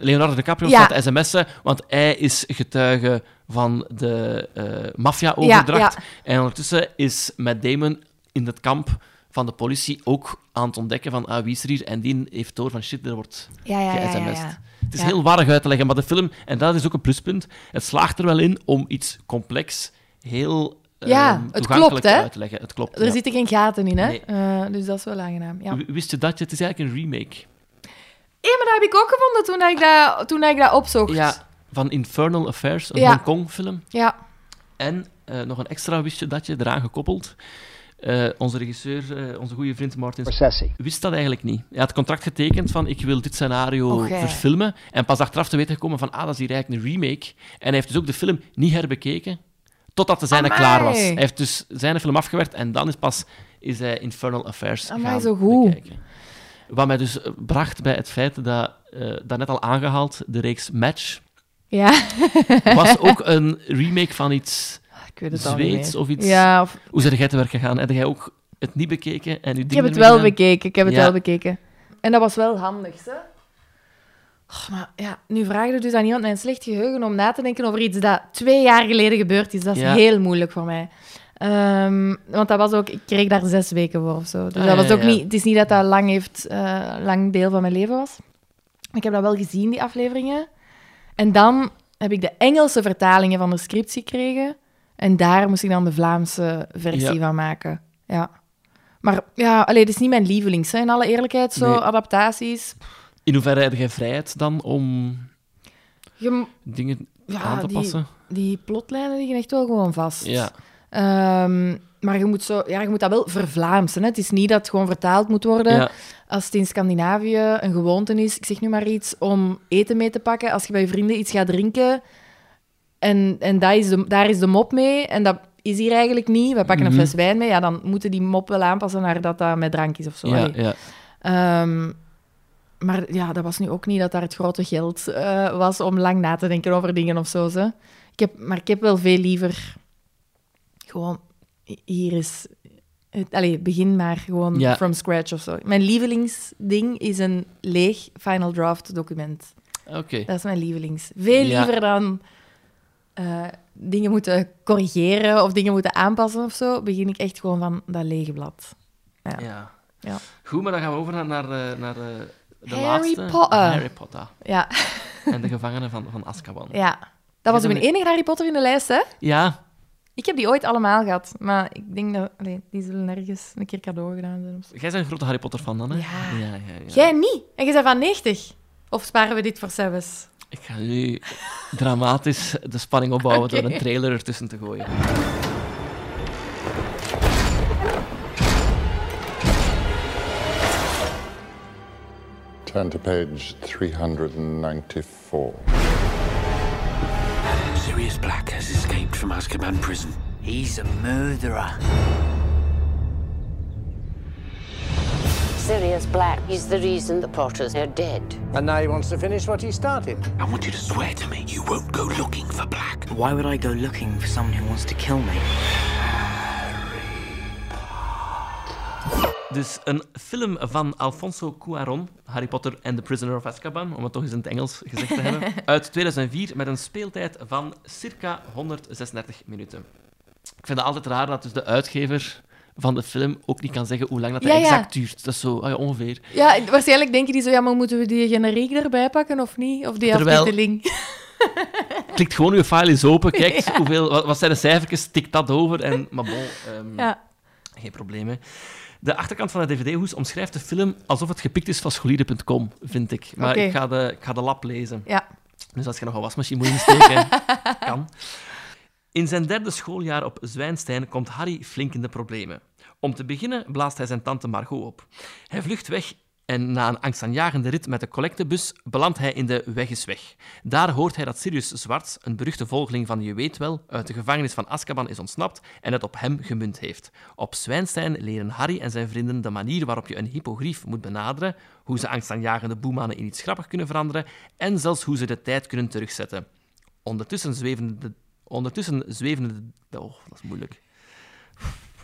S1: Leonardo DiCaprio
S2: Ja.
S1: staat de sms'en, want hij is getuige van de eh maffia-overdracht.
S2: Ja,
S1: En ondertussen is Matt Damon in het kamp van de politie ook aan het ontdekken van ah, wie is er hier. En die heeft door van shit, er wordt
S2: Ja, ja, ja, ja,
S1: ge-sms'd.
S2: ja.
S1: Het is
S2: Ja.
S1: heel warrig uit te leggen, maar de film, en dat is ook een pluspunt, het slaagt er wel in om iets complex heel eh,
S2: Ja, het
S1: toegankelijk
S2: klopt, hè?
S1: uit te leggen. Het klopt,
S2: Er
S1: ja.
S2: zitten geen gaten in, hè?
S1: Nee.
S2: Eh, dus dat is wel aangenaam. Ja.
S1: W- Wist je dat? Het is eigenlijk een remake.
S2: Hé, maar dat heb ik ook gevonden toen dat ik dat, toen dat, ik dat opzocht.
S1: Ja, van Infernal Affairs, een
S2: Ja.
S1: Hongkong-film.
S2: Ja.
S1: En eh, nog een extra wist je dat je eraan gekoppeld. Eh, onze regisseur, eh, onze goede vriend Martin
S7: Corsessi.
S1: wist dat eigenlijk niet. Hij had het contract getekend van ik wil dit scenario
S2: Och, ja.
S1: verfilmen. En pas achteraf te weten gekomen van ah, dat is hier eigenlijk een remake. En hij heeft dus ook de film niet herbekeken, totdat de zijne
S2: Amai.
S1: klaar was. Hij heeft dus zijn film afgewerkt en dan is pas is hij Infernal Affairs
S2: Amai,
S1: gaan
S2: zo goed.
S1: bekijken. Wat mij dus eh, bracht bij het feit dat, eh daarnet al aangehaald, de reeks Match
S2: Ja.
S1: was ook een remake van iets...
S2: Ik weet het al niet
S1: Zweeds
S2: meer.
S1: of iets.
S2: Ja, of-
S1: Hoe zijn jij te werk gegaan? Heb jij ook het niet bekeken en uw
S2: ik heb
S1: ding
S2: het
S1: ermee
S2: wel
S1: gedaan?
S2: bekeken. Ik heb het
S1: Ja.
S2: wel bekeken. En dat was wel handig, hè? Oh, maar ja, nu vraag je dus aan iemand met een slecht geheugen om na te denken over iets dat twee jaar geleden gebeurd is. Dat is
S1: Ja.
S2: heel moeilijk voor mij. Ehm, want dat was ook, ik kreeg daar zes weken voor of zo. Dus
S1: Ah,
S2: dat
S1: ja,
S2: was ook
S1: ja.
S2: niet, het is niet dat dat lang, heeft, eh, lang deel van mijn leven was. Ik heb dat wel gezien, die afleveringen. En dan heb ik de Engelse vertalingen van de scripts gekregen. En daar moest ik dan de Vlaamse versie
S1: Ja.
S2: van maken. Ja. Maar ja, allee, het is niet mijn lievelings, hè, in alle eerlijkheid. Zo,
S1: Nee.
S2: adaptaties.
S1: In hoeverre heb jij vrijheid dan om
S2: Je m-
S1: dingen
S2: Ja,
S1: aan te
S2: die-
S1: passen?
S2: die plotlijnen liggen echt wel gewoon vast.
S1: Ja.
S2: Ehm, Maar je moet, zo, ja, je moet dat wel vervlaamsen. Hè? Het is niet dat het gewoon vertaald moet worden.
S1: Ja.
S2: Als het in Scandinavië een gewoonte is, ik zeg nu maar iets, om eten mee te pakken. Als je bij je vrienden iets gaat drinken en, en dat is de, daar is de mop mee. En dat is hier eigenlijk niet. We
S1: Mhm.
S2: pakken een fles wijn mee. Ja, dan moeten die mop wel aanpassen naar dat dat met drank is of zo.
S1: Ja,
S2: Allee.
S1: ja.
S2: Ehm, maar ja, dat was nu ook niet dat daar het grote geld eh, was om lang na te denken over dingen of zo. Ze. Ik heb, maar ik heb wel veel liever gewoon hi- hier is. Het, allee, begin maar gewoon
S1: Ja.
S2: from scratch of zo. Mijn lievelingsding is een leeg final draft document.
S1: Oké.
S2: Dat is mijn lievelings. Veel
S1: Ja.
S2: liever dan eh, dingen moeten corrigeren of dingen moeten aanpassen of zo. Begin ik echt gewoon van dat lege blad.
S1: Ja.
S2: Ja.
S1: Goed, maar dan gaan we over naar, naar, eh, naar eh, de
S2: Harry
S1: laatste.
S2: Potter.
S1: Harry Potter.
S2: Ja,
S1: En de gevangenen van, van Azkaban. Ja.
S2: ja. Dat was
S1: Ik
S2: ook
S1: ben
S2: mijn enige Harry Potter in de lijst, hè?
S1: ja.
S2: Ik heb die ooit allemaal gehad, maar ik denk dat allee, die zullen ergens een keer cadeau gedaan zijn. Of zo.
S1: Jij bent een grote Harry Potter fan dan, hè?
S2: Ja.
S1: ja, ja, ja.
S2: Jij niet? En je bent van 90? Of sparen we dit voor zelfs?
S1: Ik ga nu dramatisch de spanning opbouwen
S2: Oké.
S1: door een trailer ertussen te gooien.
S9: Turn to page 394.
S6: Sirius Black has escaped from Azkaban prison.
S7: He's a murderer.
S10: Sirius Black is the reason the Potters are dead.
S6: And now he wants to finish what he started. I want you to swear to me you won't go looking for Black.
S10: Why would I go looking for someone who wants to kill me?
S1: Dus een film van Alfonso Cuaron, Harry Potter and the Prisoner of Azkaban, om het toch eens in het Engels gezegd te hebben, uit 2004 met een speeltijd van circa 136 minuten. Ik vind het altijd raar dat dus de uitgever van de film ook niet kan zeggen hoe lang dat hij
S2: Ja, ja.
S1: exact duurt. Dat is zo ah ja, ongeveer.
S2: Ja, waarschijnlijk denken die zo, ja, maar moeten we die generiek erbij pakken of niet? Of die
S1: Terwijl-
S2: aftiteling?
S1: Klikt gewoon, uw file is open, kijk hoeveel, wat, wat zijn de cijfertjes, tik dat over. En, maar bon, ehm,
S2: Ja.
S1: Geen probleem, hè. De achterkant van de dvd-hoes omschrijft de film alsof het gepikt is van scholieren.com, vind ik. Maar
S2: Oké.
S1: ik, ga de, ik ga de lab lezen.
S2: Ja.
S1: Dus als je nog een wasmachine moet insteken, kan. In zijn derde schooljaar op Zwijnstein komt Harry flink in de problemen. Om te beginnen blaast hij zijn tante Margot op. Hij vlucht weg en na een angstaanjagende rit met de collectebus belandt hij in de Weg is Weg. Daar hoort hij dat Sirius Zwarts, een beruchte volgeling van Je weet wel, uit de gevangenis van Azkaban is ontsnapt en het op hem gemunt heeft. Op Zwijnstein leren Harry en zijn vrienden de manier waarop je een hippogrief moet benaderen, hoe ze angstaanjagende boemanen in iets grappigs kunnen veranderen en zelfs hoe ze de tijd kunnen terugzetten. Ondertussen zweven de... Ondertussen zweven de... Oh, dat is moeilijk.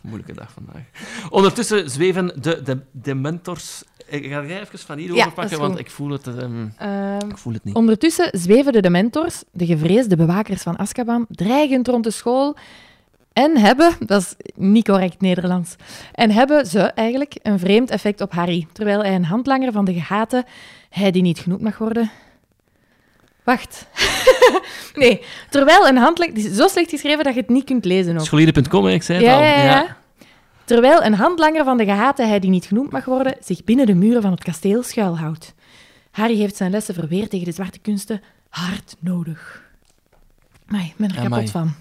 S1: Moeilijke dag vandaag. Ondertussen zweven de, de, de mentors... Ik ga jij even van hier
S2: Ja, dat
S1: overpakken,
S2: is
S1: want
S2: goed.
S1: ik voel, het, ehm,
S2: Ehm,
S1: ik voel het niet.
S2: Ondertussen zweven de dementors, de gevreesde bewakers van Azkaban, dreigend rond de school en hebben, dat is niet correct Nederlands, en hebben ze eigenlijk een vreemd effect op Harry, terwijl hij een handlanger van de gehate, hij die niet genoemd mag worden... Wacht. nee, terwijl een handlanger... Het is zo slecht geschreven dat je het niet kunt lezen ook.
S1: Scholieren.com, hè, ik zei het
S2: Ja,
S1: al.
S2: ja, ja. Terwijl een handlanger van de gehate hij die niet genoemd mag worden, zich binnen de muren van het kasteel schuilhoudt. Harry heeft zijn lessen verweerd tegen de zwarte kunsten hard nodig. Maar ik ben er kapot
S1: Amai.
S2: van.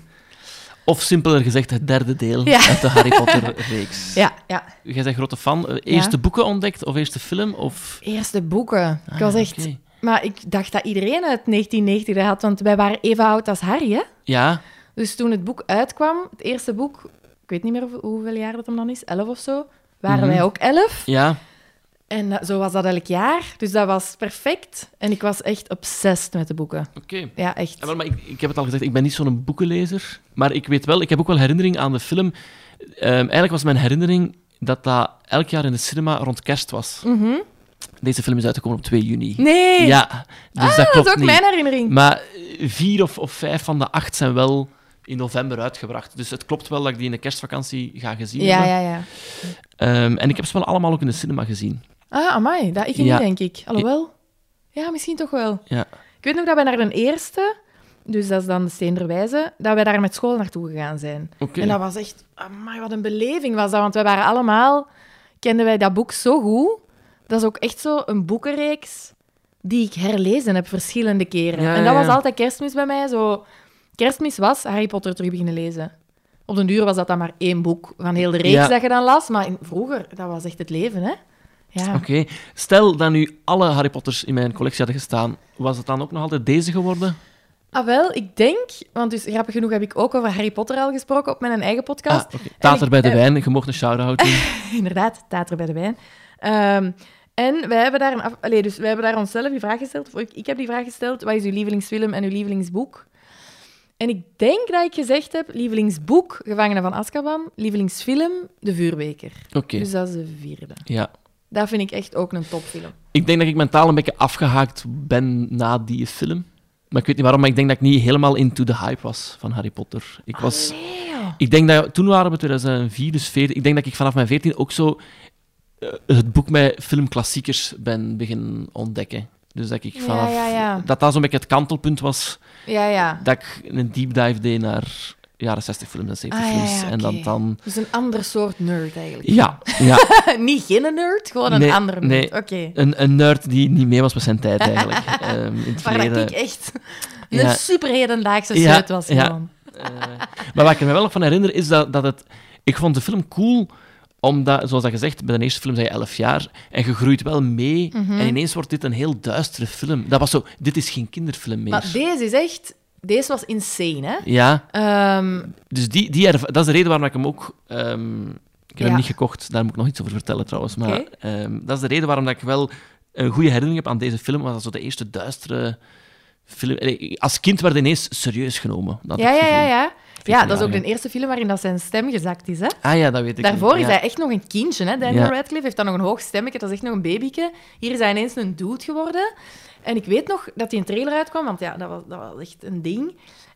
S1: Of simpeler gezegd, het derde deel
S2: Ja.
S1: uit de Harry Potter-reeks.
S2: Ja, ja.
S1: Jij bent grote fan. Eh, Eerst
S2: Ja.
S1: de boeken ontdekt of eerst de film? Of...
S2: Eerste boeken. ik was
S1: Ah,
S2: echt...
S1: oké.
S2: Maar ik dacht dat iedereen uit 1990 dat had, want wij waren even oud als Harry, hè?
S1: Ja,
S2: Dus toen het boek uitkwam, het eerste boek, ik weet niet meer hoe- hoeveel jaar dat hem dan is, elf of zo, waren
S1: Mhm.
S2: wij ook elf.
S1: ja.
S2: En dat- zo was dat elk jaar. Dus dat was perfect. En ik was echt obsessed met de boeken.
S1: Oké.
S2: Ja,
S1: Ja,
S2: echt.
S1: wel, maar ik, ik heb het al gezegd, ik ben niet zo'n boekenlezer. Maar ik weet wel, ik heb ook wel herinnering aan de film. Ehm, eigenlijk was mijn herinnering dat dat elk jaar in de cinema rond kerst was. Deze film is uitgekomen op 2 juni.
S2: Mhm. Nee!
S1: Ja, dus
S2: Ah,
S1: dat klopt
S2: is ook
S1: niet.
S2: mijn herinnering.
S1: Maar eh, vier of, of vijf van de acht zijn wel in november uitgebracht. Dus het klopt wel dat ik die in de kerstvakantie ga gezien
S2: ja,
S1: hebben.
S2: ja, ja.
S1: Ehm, en ik heb ze wel allemaal ook in de cinema gezien.
S2: Ah, amai. Dat ik
S1: Ja.
S2: niet, denk ik. Alhoewel. Ja, misschien toch wel.
S1: Ja.
S2: Ik weet nog dat wij naar de eerste, dus dat is dan de Steenderwijze, dat wij daar met school naartoe gegaan zijn.
S1: Oké.
S2: En dat was echt... Amai, wat een beleving was dat. Want wij waren allemaal... Kenden wij dat boek zo goed. Dat is ook echt zo een boekenreeks die ik herlezen heb verschillende keren.
S1: Ja,
S2: en dat
S1: ja,
S2: was
S1: ja.
S2: altijd kerstmis bij mij. Zo... Kerstmis was Harry Potter terug beginnen lezen. Op den duur was dat dan maar één boek van heel de reeks
S1: Ja.
S2: dat je dan las. Maar in- vroeger, dat was echt het leven, hè? Ja.
S1: Oké. Stel dat nu alle Harry Potters in mijn collectie hadden gestaan, was het dan ook nog altijd deze geworden?
S2: Ah, wel, ik denk... Want dus, grappig genoeg heb ik ook over Harry Potter al gesproken op mijn eigen podcast.
S1: Ah, oké.
S2: En
S1: Tater
S2: ik-
S1: bij de
S2: eh,
S1: wijn, je mocht een shout-out doen.
S2: Inderdaad, tater bij de wijn. Ehm, en wij hebben, daar een af... Allee, dus wij hebben daar onszelf die vraag gesteld, of ik, ik heb die vraag gesteld, wat is uw lievelingsfilm en uw lievelingsboek? En ik denk dat ik gezegd heb, lievelingsboek, Gevangenen van Azkaban, lievelingsfilm, De Vuurbeker.
S1: Oké.
S2: Dus dat is de vierde.
S1: Ja.
S2: Dat vind ik echt ook een topfilm.
S1: Ik denk dat ik mentaal een beetje afgehaakt ben na die film. Maar ik weet niet waarom, maar ik denk dat ik niet helemaal into the hype was van Harry Potter. Ik
S2: Ah,
S1: was... Ik denk dat... Toen waren we 2004, dus 14. Ik denk dat ik vanaf mijn 14 ook zo eh, het boek met filmklassiekers ben beginnen ontdekken. Dus dat ik
S2: Ja,
S1: vanaf...
S2: ja, ja.
S1: Dat dat zo'n beetje het kantelpunt was.
S2: Ja, ja.
S1: Dat ik een deep dive deed naar jaren 60 films en 70
S2: Ah, ja,
S1: films.
S2: ja,
S1: En dan
S2: oké.
S1: dan...
S2: Dus een ander soort nerd eigenlijk.
S1: Ja, ja.
S2: Niet geen nerd, gewoon een
S1: Nee,
S2: andere
S1: nee.
S2: nerd. Oké.
S1: Een, een nerd die niet mee was met zijn tijd, eigenlijk. Ehm, in het
S2: Maar
S1: verleden.
S2: dat ik echt een
S1: Ja. Ja,
S2: superhedendaagse sluit was
S1: ja.
S2: gewoon.
S1: Maar wat ik er me wel nog van herinner, is dat, dat het... Ik vond de film cool, omdat, zoals dat gezegd, bij de eerste film zei je 11 jaar, en je groeit wel mee,
S2: Mhm.
S1: en ineens wordt dit een heel duistere film. Dat was zo, dit is geen kinderfilm meer.
S2: Maar deze is echt... Deze was insane, hè?
S1: Ja,
S2: Ehm,
S1: dus die, die erv- dat is de reden waarom ik hem ook... ehm, ik heb
S2: Ja.
S1: hem niet gekocht, daar moet ik nog iets over vertellen trouwens, maar
S2: Oké.
S1: ehm, dat is de reden waarom dat ik wel een goede herinnering heb aan deze film, want dat is zo de eerste duistere film... Allee, Als kind werd ineens serieus genomen. Dat
S2: ja,
S1: had ik
S2: ja,
S1: het
S2: ja,
S1: gevoel.
S2: ja. Ja,
S1: 14
S2: dat is ook
S1: jaar,
S2: de eerste film waarin dat zijn stem gezakt is. Hè?
S1: Ah ja, dat weet ik
S2: Daarvoor
S1: niet.
S2: is
S1: Ja.
S2: hij echt nog een kindje. Hè? Daniel
S1: Ja.
S2: Radcliffe heeft dan nog een hoog stemmetje. Dat is echt nog een babyke. Hier is hij ineens een dude geworden. En ik weet nog dat die een trailer uitkwam, want ja, dat was, dat was echt een ding.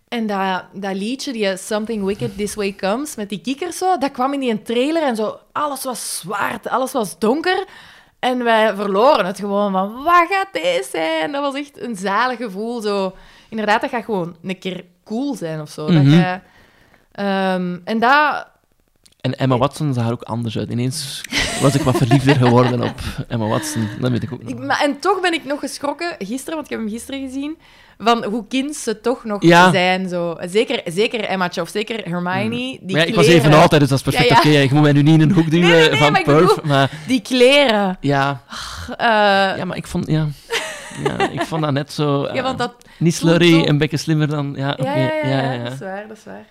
S2: En dat, dat liedje, die eh, Something Wicked This Way Comes, met die kikkers zo, dat kwam in die trailer en zo. Alles was zwart, alles was donker. En wij verloren het gewoon van, wat gaat deze zijn? Dat was echt een zalig gevoel. Zo. Inderdaad, dat gaat gewoon een keer cool zijn of zo.
S1: Mhm.
S2: dat je, ehm, en dat,
S1: En Emma Watson zag er ook anders uit. Ineens was ik wat verliefder geworden op Emma Watson. Dat weet ik ook
S2: Ik-
S1: nog.
S2: maar, en toch ben ik nog geschrokken gisteren, want ik heb hem gisteren gezien, van hoe kind ze toch nog
S1: Ja. Mm.
S2: zijn. Zo. Zeker, zeker Emmaatje of zeker Hermione. Die
S1: Maar ja, ik was
S2: kleren-
S1: even altijd, dus dat is perfect.
S2: Ja, ja.
S1: Oké, ja, ik moet mij nu niet in een hoek duwen
S2: nee, nee,
S1: van
S2: maar ik
S1: Perf.
S2: bedoel-
S1: Maar
S2: Die kleren.
S1: ja,
S2: eh,
S1: ja, maar ik vond... Ja. Ja, ik vond dat net zo...
S2: ja.
S1: eh,
S2: want dat...
S1: Niet
S2: voelt
S1: slurry,
S2: zo-
S1: een beetje slimmer dan... Ja, oké.
S2: Ja, ja, ja,
S1: ja, ja,
S2: dat is waar, dat is waar.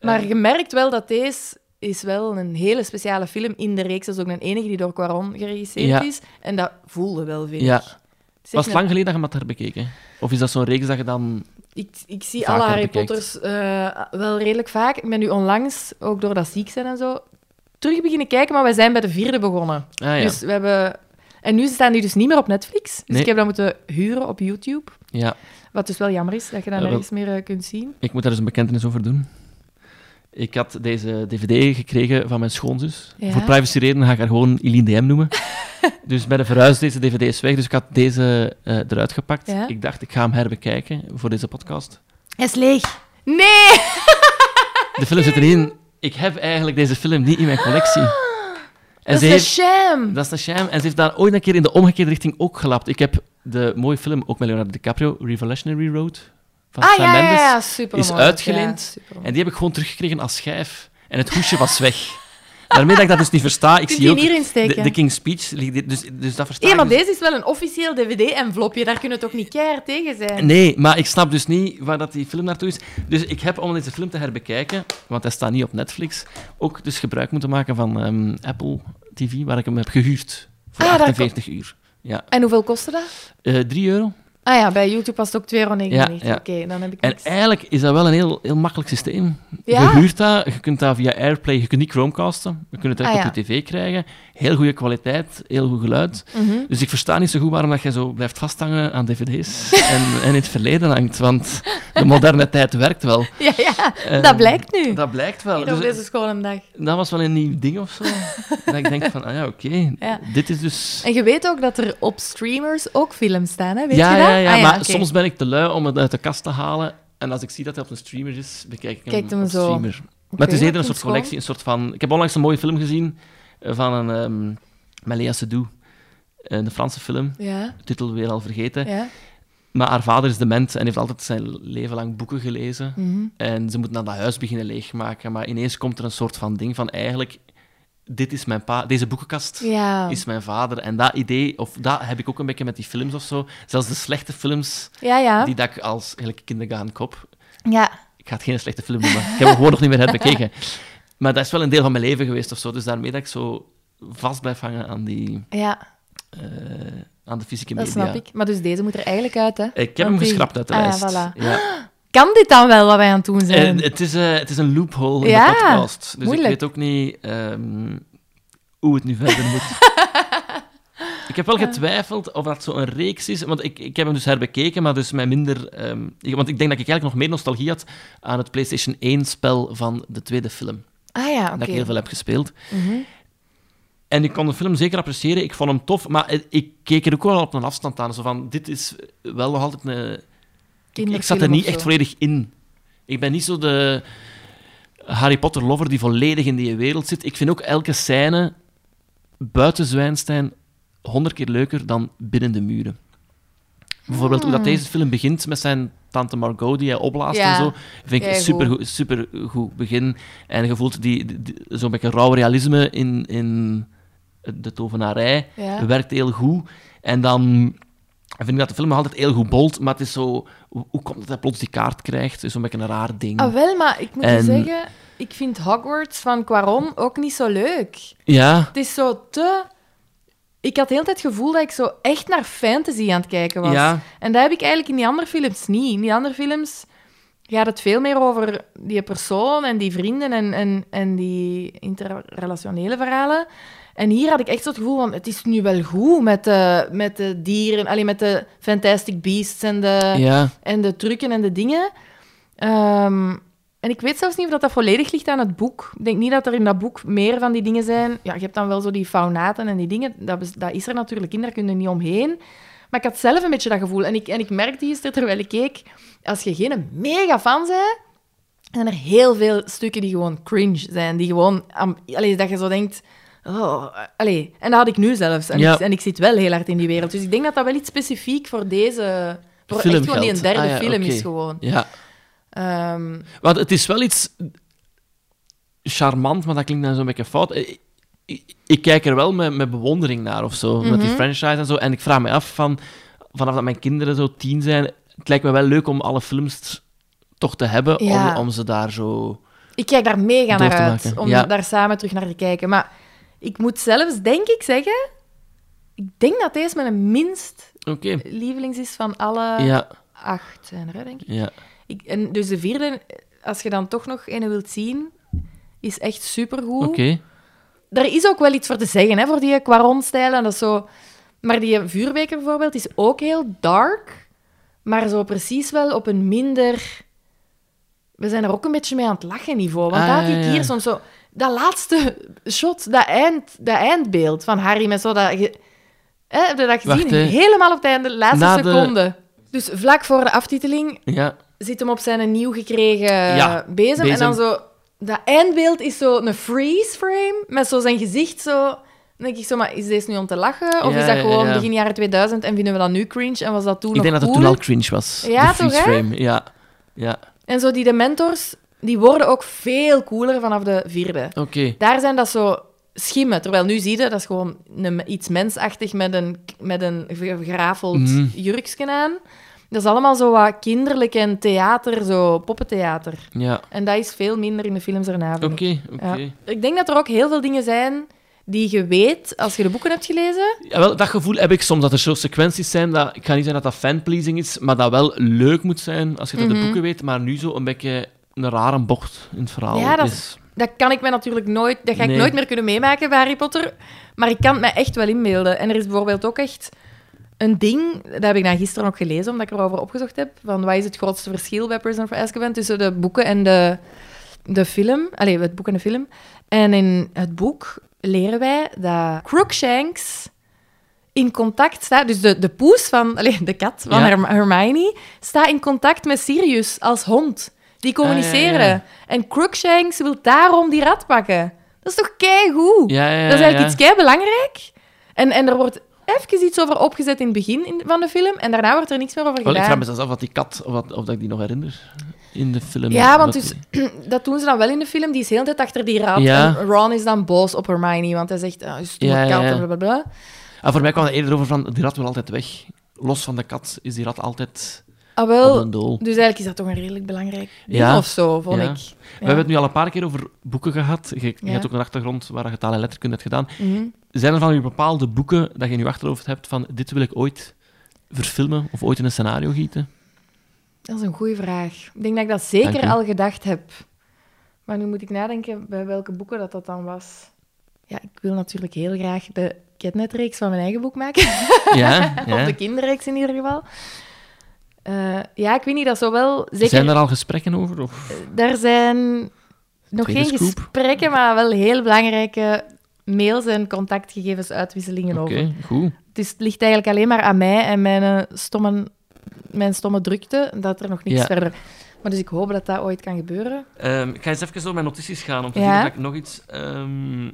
S2: Maar je merkt wel dat deze is wel een hele speciale film in de reeks. Dat is ook de enige die door Quaron geregisseerd
S1: Ja.
S2: is. En dat voelde wel, vind
S1: Ja.
S2: ik. Het is echt
S1: Was
S2: een-
S1: het lang geleden dat je hem had herbekeken? Of is dat zo'n reeks dat je dan...
S2: Ik, ik zie
S1: Vaker
S2: alle Harry
S1: bekijkt.
S2: Potters eh, wel redelijk vaak. Ik ben nu onlangs, ook door dat ziek zijn en zo, terug beginnen kijken, maar wij zijn bij de vierde begonnen.
S1: Ah ja,
S2: Dus we hebben... En nu staan die dus niet meer op Netflix. Dus
S1: Nee.
S2: ik heb dat moeten huren op YouTube.
S1: ja.
S2: Wat dus wel jammer is, dat je dat
S1: Ja, wel-
S2: nergens meer eh, kunt zien.
S1: Ik moet daar eens een bekentenis over doen. Ik had deze dvd gekregen van mijn schoonzus.
S2: Ja.
S1: Voor privacy redenen ga ik haar gewoon Eline DM noemen. dus bij de verhuis deze dvd is weg, dus ik had deze eh, eruit gepakt.
S2: Ja.
S1: Ik dacht, ik ga hem herbekijken voor deze podcast.
S2: Hij is leeg. Nee! Ah,
S1: De film zit erin. Ik heb eigenlijk deze film niet in mijn collectie. En
S2: dat
S1: ze
S2: is
S1: heeft,
S2: een sham.
S1: dat is een shame. En ze heeft daar ooit een keer in de omgekeerde richting ook gelapt. Ik heb de mooie film, ook met Leonardo DiCaprio, Revolutionary Road, van
S2: Ah,
S1: Sam
S2: ja, ja,
S1: Mendes.
S2: ja, supermooi.
S1: is uitgeleend.
S2: Ja, supermooi.
S1: En die heb ik gewoon teruggekregen als schijf. En het hoesje was weg. Daarmee dat ik dat dus niet versta. Ik
S2: Kunt
S1: zie
S2: je
S1: ook
S2: hem hierin steken?
S1: De, de King's Speech. ligt hier- Dus, dus dat versta
S2: Ja, maar
S1: ik dus-
S2: deze is wel een officieel DVD-envelopje. Daar kunnen we toch niet keihard tegen zijn?
S1: Nee, maar ik snap dus niet waar dat die film naartoe is. Dus ik heb, om deze film te herbekijken, want hij staat niet op Netflix, ook dus gebruik moeten maken van ehm, Apple TV, waar ik hem heb gehuurd. Voor
S2: Ah, daar
S1: 48 uur.
S2: En hoeveel kostte dat?
S1: Eh 3 euro.
S2: Ah ja, bij YouTube was het ook 2,99 euro.
S1: Ja, ja.
S2: Oké, dan heb ik
S1: En
S2: niks.
S1: eigenlijk is dat wel een heel, heel makkelijk systeem.
S2: Ja?
S1: Je huurt dat, je kunt dat via Airplay, je kunt niet Chromecasten, je kunt het direct
S2: Ah,
S1: op je tv krijgen. Heel goede kwaliteit, heel goed geluid.
S2: Mhm.
S1: Dus ik versta niet zo goed waarom dat jij zo blijft vasthangen aan dvd's en, en in het verleden hangt, want de moderne tijd werkt wel.
S2: Ja, ja,
S1: Ehm,
S2: dat blijkt nu.
S1: Dat blijkt wel.
S2: Hier op
S1: Dus,
S2: deze schone dag.
S1: dat was wel een nieuw ding of zo. dat ik denk van, ah ja, oké,
S2: Ja.
S1: dit is dus...
S2: En je weet ook dat er op streamers ook films staan, hè? Weet
S1: ja,
S2: je
S1: ja,
S2: dat?
S1: ja,
S2: Ah
S1: maar
S2: oké.
S1: soms ben ik te lui om het uit de kast te halen. En als ik zie dat hij op een streamer is, bekijk ik hem,
S2: Kijk hem
S1: op
S2: zo.
S1: streamer.
S2: Oké,
S1: Maar het is
S2: dat
S1: eerder een
S2: vind
S1: soort
S2: ik
S1: collectie, een soort van... Ik heb onlangs een mooie film gezien eh, van een, ehm met Lea Seydoux. Eh, Een Franse film,
S2: schoon. Ja,
S1: titel weer al vergeten.
S2: ja.
S1: Maar haar vader is dement en heeft altijd zijn leven lang boeken gelezen.
S2: Mhm.
S1: En ze moet dan dat huis beginnen leegmaken. Maar ineens komt er een soort van ding van eigenlijk... Dit is mijn pa... Deze boekenkast
S2: Ja.
S1: is mijn vader. En dat idee, of dat heb ik ook een beetje met die films of zo. Zelfs de slechte films
S2: Ja, ja.
S1: die dat ik als eigenlijk kindergaan kop.
S2: Ja.
S1: Ik ga het geen slechte film noemen. Ik heb hem gewoon nog niet meer herbekeken. Maar dat is wel een deel van mijn leven geweest of zo. Dus daarmee dat ik zo vast blijf hangen aan die...
S2: Ja,
S1: eh, aan de fysieke
S2: dat
S1: media.
S2: snap ik. Maar dus deze moet er eigenlijk uit, hè?
S1: Ik heb hem
S2: Want die-
S1: geschrapt uit de
S2: Ah,
S1: lijst.
S2: ja, voilà.
S1: Ja.
S2: Kan dit dan wel wat wij aan het doen zijn?
S1: Eh, het, is, eh, het is een loophole in
S2: Ja,
S1: de podcast. Dus
S2: moeilijk.
S1: ik weet ook niet ehm, hoe het nu verder moet. ik heb wel getwijfeld of dat zo'n reeks is. Want ik, ik heb hem dus herbekeken, maar dus mij minder... ehm, ik- want ik denk dat ik eigenlijk nog meer nostalgie had aan het PlayStation 1-spel van de tweede film.
S2: ah ja, oké.
S1: Dat ik heel veel heb gespeeld.
S2: Mhm.
S1: En ik kon de film zeker appreciëren. Ik vond hem tof, maar eh, ik keek er ook wel op een afstand aan. Zo van, dit is wel nog altijd een... Ik, ik zat er
S2: Kinderfilm
S1: niet
S2: of
S1: echt
S2: zo.
S1: volledig in. Ik ben niet zo de Harry Potter-lover die volledig in die wereld zit. Ik vind ook elke scène buiten Zwijnstein honderd keer leuker dan binnen de muren. Bijvoorbeeld hoe dat deze film begint met zijn tante Margot die hij opblaast
S2: Ah. Ja,
S1: en zo. Vind ik een
S2: keigoed.
S1: supergoed, supergoed begin. En je voelt die, die- die- zo'n beetje rauw realisme in, in de tovenarij.
S2: Ja.
S1: Werkt heel goed. En dan vind ik dat de film nog altijd heel goed bolt, maar het is zo... Hoe hoe komt het dat hij plots die kaart krijgt? Het is zo'n beetje een raar ding.
S2: Ah, wel, maar ik moet
S1: En-
S2: je zeggen, ik vind Hogwarts van Quaron ook niet zo leuk.
S1: Ja,
S2: Het is zo te... Ik had de hele tijd het gevoel dat ik zo echt naar fantasy aan het kijken was.
S1: ja.
S2: En dat heb ik eigenlijk in die andere films niet. In die andere films gaat het veel meer over die persoon en die vrienden en, en, en die interrelationele verhalen. En hier had ik echt zo het gevoel van, het is nu wel goed met de, met de dieren, alleen met de Fantastic Beasts en de,
S1: ja.
S2: en de trucken en de dingen. Ehm, en ik weet zelfs niet of dat, dat volledig ligt aan het boek. Ik denk niet dat er in dat boek meer van die dingen zijn. Ja, je hebt dan wel zo die faunaten en die dingen. Dat, bes- dat is er natuurlijk in, daar kun je niet omheen. Maar ik had zelf een beetje dat gevoel. En ik, en ik merkte gisteren, terwijl ik keek, als je geen mega fan bent, zijn er heel veel stukken die gewoon cringe zijn. Die gewoon... am- allee, dat je zo denkt... Oh, allee. En dat had ik nu zelfs. En,
S1: Ja.
S2: ik, en ik zit wel heel hard in die wereld. Dus ik denk dat dat wel iets specifiek voor deze... Voor
S1: Film
S2: echt gewoon die een
S1: geldt.
S2: derde
S1: Ah ja,
S2: film
S1: oké.
S2: is gewoon.
S1: ja.
S2: Ehm,
S1: Want het is wel iets charmant, maar dat klinkt dan zo'n beetje fout. Ik, ik- ik kijk er wel met, met bewondering naar of zo, met die
S2: Mhm.
S1: franchise en zo. En ik vraag me af van, vanaf dat mijn kinderen zo tien zijn, het lijkt me wel leuk om alle films toch te hebben,
S2: Ja.
S1: om, om ze daar zo...
S2: ik kijk daar mega
S1: Door
S2: naar
S1: te
S2: uit,
S1: maken,
S2: om
S1: ja.
S2: daar samen terug naar te kijken. Maar ik moet zelfs, denk ik, zeggen... Ik denk dat deze mijn minst
S1: Oké,
S2: lievelings is van alle
S1: ja,
S2: acht, zijn er, hè, denk ik.
S1: ja.
S2: ik. En dus de vierde, als je dan toch nog een wilt zien, is echt supergoed.
S1: Oké,
S2: Er is ook wel iets voor te zeggen, hè, voor die Quaron-stijl en dat is zo... Maar die vuurbeker bijvoorbeeld is ook heel dark, maar zo precies wel op een minder... We zijn er ook een beetje mee aan het lachen niveau, want
S1: Ah,
S2: dat had
S1: ja,
S2: ik
S1: ja.
S2: hier soms zo... Dat laatste shot, dat, eind, dat eindbeeld van Harry met zo dat... ge- Hè, heb je dat gezien?
S1: Wacht, hè.
S2: Helemaal op het einde, de laatste
S1: Na de-
S2: seconde. Dus vlak voor de aftiteling
S1: ja.
S2: zit hem op zijn nieuw gekregen
S1: Ja,
S2: bezem. En
S1: bezem.
S2: dan zo... Dat eindbeeld is zo een freeze frame met zo zijn gezicht zo... Dan denk ik zo, maar is deze nu om te lachen? Of
S1: Ja,
S2: is dat
S1: ja,
S2: gewoon
S1: ja.
S2: begin jaren 2000 en vinden we dat nu cringe? En was dat toen
S1: Ik denk
S2: nog
S1: dat het
S2: cool?
S1: toen al cringe was.
S2: Ja,
S1: de
S2: toch,
S1: freeze
S2: hè?
S1: frame, ja. Ja,
S2: En zo die dementors, die worden ook veel cooler vanaf de vierde.
S1: oké.
S2: Daar zijn dat zo schimmen. Terwijl nu zie je, dat is gewoon een, iets mensachtig met een, met een gerafeld
S1: Mhm.
S2: jurkje aan. Dat is allemaal zo wat kinderlijk en theater, zo poppentheater.
S1: Ja,
S2: En dat is veel minder in de films erna. vind
S1: oké,
S2: ik.
S1: oké.
S2: Ja. Ik denk dat er ook heel veel dingen zijn die je weet als je de boeken hebt gelezen.
S1: Ja, wel, dat gevoel heb ik soms, dat er zo sequenties zijn, dat, ik ga niet zeggen dat dat fanpleasing is, maar dat wel leuk moet zijn, als je dat de
S2: Mhm.
S1: boeken weet, maar nu zo een beetje een rare bocht in het verhaal
S2: Ja, dat is-
S1: is.
S2: Dat kan ik mij natuurlijk nooit, dat ga ik
S1: Nee.
S2: nooit meer kunnen meemaken bij Harry Potter. Maar ik kan het mij echt wel inbeelden. En er is bijvoorbeeld ook echt een ding, dat heb ik dan gisteren nog gelezen, omdat ik erover opgezocht heb, van wat is het grootste verschil bij Prisoner of Azkaban tussen de boeken en de, de film. Allee, het boek en de film. En in het boek leren wij dat Crookshanks in contact staat, dus de, de poes van, allee, de kat van
S1: Ja.
S2: Herm- Hermione, staat in contact met Sirius als hond. Die communiceren.
S1: Ah, ja, ja.
S2: En Crookshanks wil daarom die rat pakken. Dat is toch keigoed?
S1: Ja, ja, ja,
S2: dat is eigenlijk
S1: ja.
S2: iets kei belangrijk. En, en er wordt even iets over opgezet in het begin in- van de film. En daarna wordt er niks meer over
S1: Wel,
S2: gedaan.
S1: ik vraag me zelfs af wat die kat, of, wat, of dat ik die nog herinner in de film.
S2: Ja, want
S1: Dat
S2: dus,
S1: die-
S2: dat doen ze dan wel in de film. Die is heel de tijd achter die raad.
S1: Ja.
S2: En Ron is dan boos op Hermione, want hij zegt... Oh, stomme
S1: Ja, ja,
S2: kat,
S1: ja.
S2: blablabla.
S1: Ah, voor mij kwam het eerder over van, die rat wil altijd weg. Los van de kat is die rat altijd
S2: Ah, wel.
S1: op een doel.
S2: Dus eigenlijk is dat toch een redelijk belangrijk ding
S1: Ja.
S2: of zo, vond
S1: Ja.
S2: ik.
S1: We hebben het nu al een paar keer over boeken gehad. Je, je
S2: Ja.
S1: hebt ook een achtergrond waar je taal en letterkunde hebt gedaan.
S2: Mhm.
S1: Zijn er van je bepaalde boeken dat je in je achterhoofd hebt van dit wil ik ooit verfilmen of ooit in een scenario gieten?
S2: Dat is een goede vraag. Ik denk dat ik dat
S1: Dank
S2: zeker
S1: u.
S2: al gedacht heb. Maar nu moet ik nadenken bij welke boeken dat, dat dan was. Ja, ik wil natuurlijk heel graag de Ketnet-reeks van mijn eigen boek maken.
S1: Ja, ja.
S2: of de kinderreeks in ieder geval. Eh, ja, ik weet niet, dat zo wel... Zeker,
S1: Zijn er al gesprekken over? Of...
S2: Daar zijn nog
S1: Tweede
S2: geen
S1: scoop.
S2: gesprekken, maar wel heel belangrijke mails en contactgegevens uitwisselingen
S1: Oké,
S2: over.
S1: goed.
S2: Dus het ligt eigenlijk alleen maar aan mij en mijn, eh, stomme, mijn stomme drukte, dat er nog niks
S1: Ja.
S2: verder... Maar dus ik hoop dat dat ooit kan gebeuren.
S1: Ehm, ik ga eens even door mijn notities gaan om te
S2: Ja.
S1: zien of ik nog iets. ehm,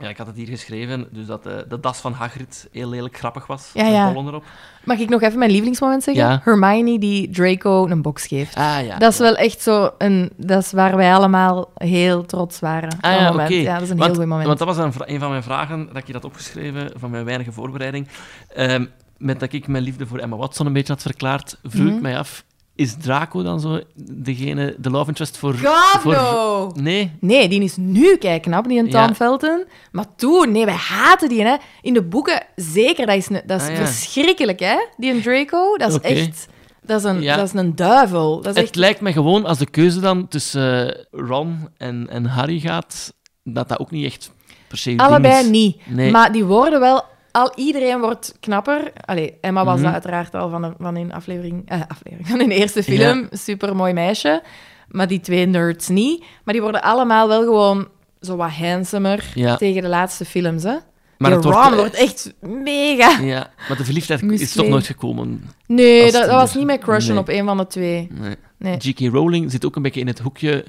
S1: Ja, ik had het hier geschreven, dus dat eh, de das van Hagrid heel lelijk grappig was.
S2: Ja,
S1: Een
S2: ja.
S1: bol erop.
S2: Mag ik nog even mijn lievelingsmoment zeggen?
S1: Ja.
S2: Hermione die Draco een box geeft.
S1: Ah ja.
S2: dat is wel echt zo een... Dat is waar wij allemaal heel trots waren.
S1: Ah
S2: dat
S1: ja, oké.
S2: moment. ja, dat is een
S1: Want-
S2: heel goed moment.
S1: Want dat was een, vra- een van mijn vragen, dat ik je dat opgeschreven van mijn weinige voorbereiding. Ehm, met dat ik mijn liefde voor Emma Watson een beetje had verklaard, vroeg ik
S2: Mhm.
S1: mij af, is Draco dan zo degene, de love interest voor...
S2: God,
S1: voor-
S2: no!
S1: Nee?
S2: Nee, die is nu kijkknap, die een
S1: Ja.
S2: Tom Felton. Maar toen, nee, wij haten die, hè. In de boeken, zeker, dat is, een- dat is
S1: Ah, ja.
S2: verschrikkelijk, hè. Die een Draco, dat is
S1: Oké.
S2: echt... Dat is, een,
S1: Ja.
S2: dat is een duivel. Dat is
S1: Het
S2: echt...
S1: lijkt me gewoon, als de keuze dan tussen eh, Ron en, en Harry gaat, dat dat ook niet echt per se uw ding
S2: Allebei
S1: is.
S2: niet.
S1: Nee.
S2: Maar die worden wel... Al iedereen wordt knapper. Allee, Emma was
S1: Mhm.
S2: dat uiteraard al van, de- van in aflevering... eh, aflevering van in de eerste film. Super mooi meisje. Maar die twee nerds niet. Maar die worden allemaal wel gewoon zo wat handsomer
S1: Ja.
S2: tegen de laatste films, hè.
S1: Maar
S2: Maar
S1: het wordt-
S2: Ron wordt, echt mega...
S1: Ja, maar de verliefdheid is toch
S2: Misleiding.
S1: nooit gekomen.
S2: Nee,
S1: Als
S2: dat, dat
S1: tiener.
S2: was niet met crushen
S1: Nee.
S2: op een van de twee.
S1: Nee.
S2: Nee.
S1: J.K. Rowling zit ook een beetje in het hoekje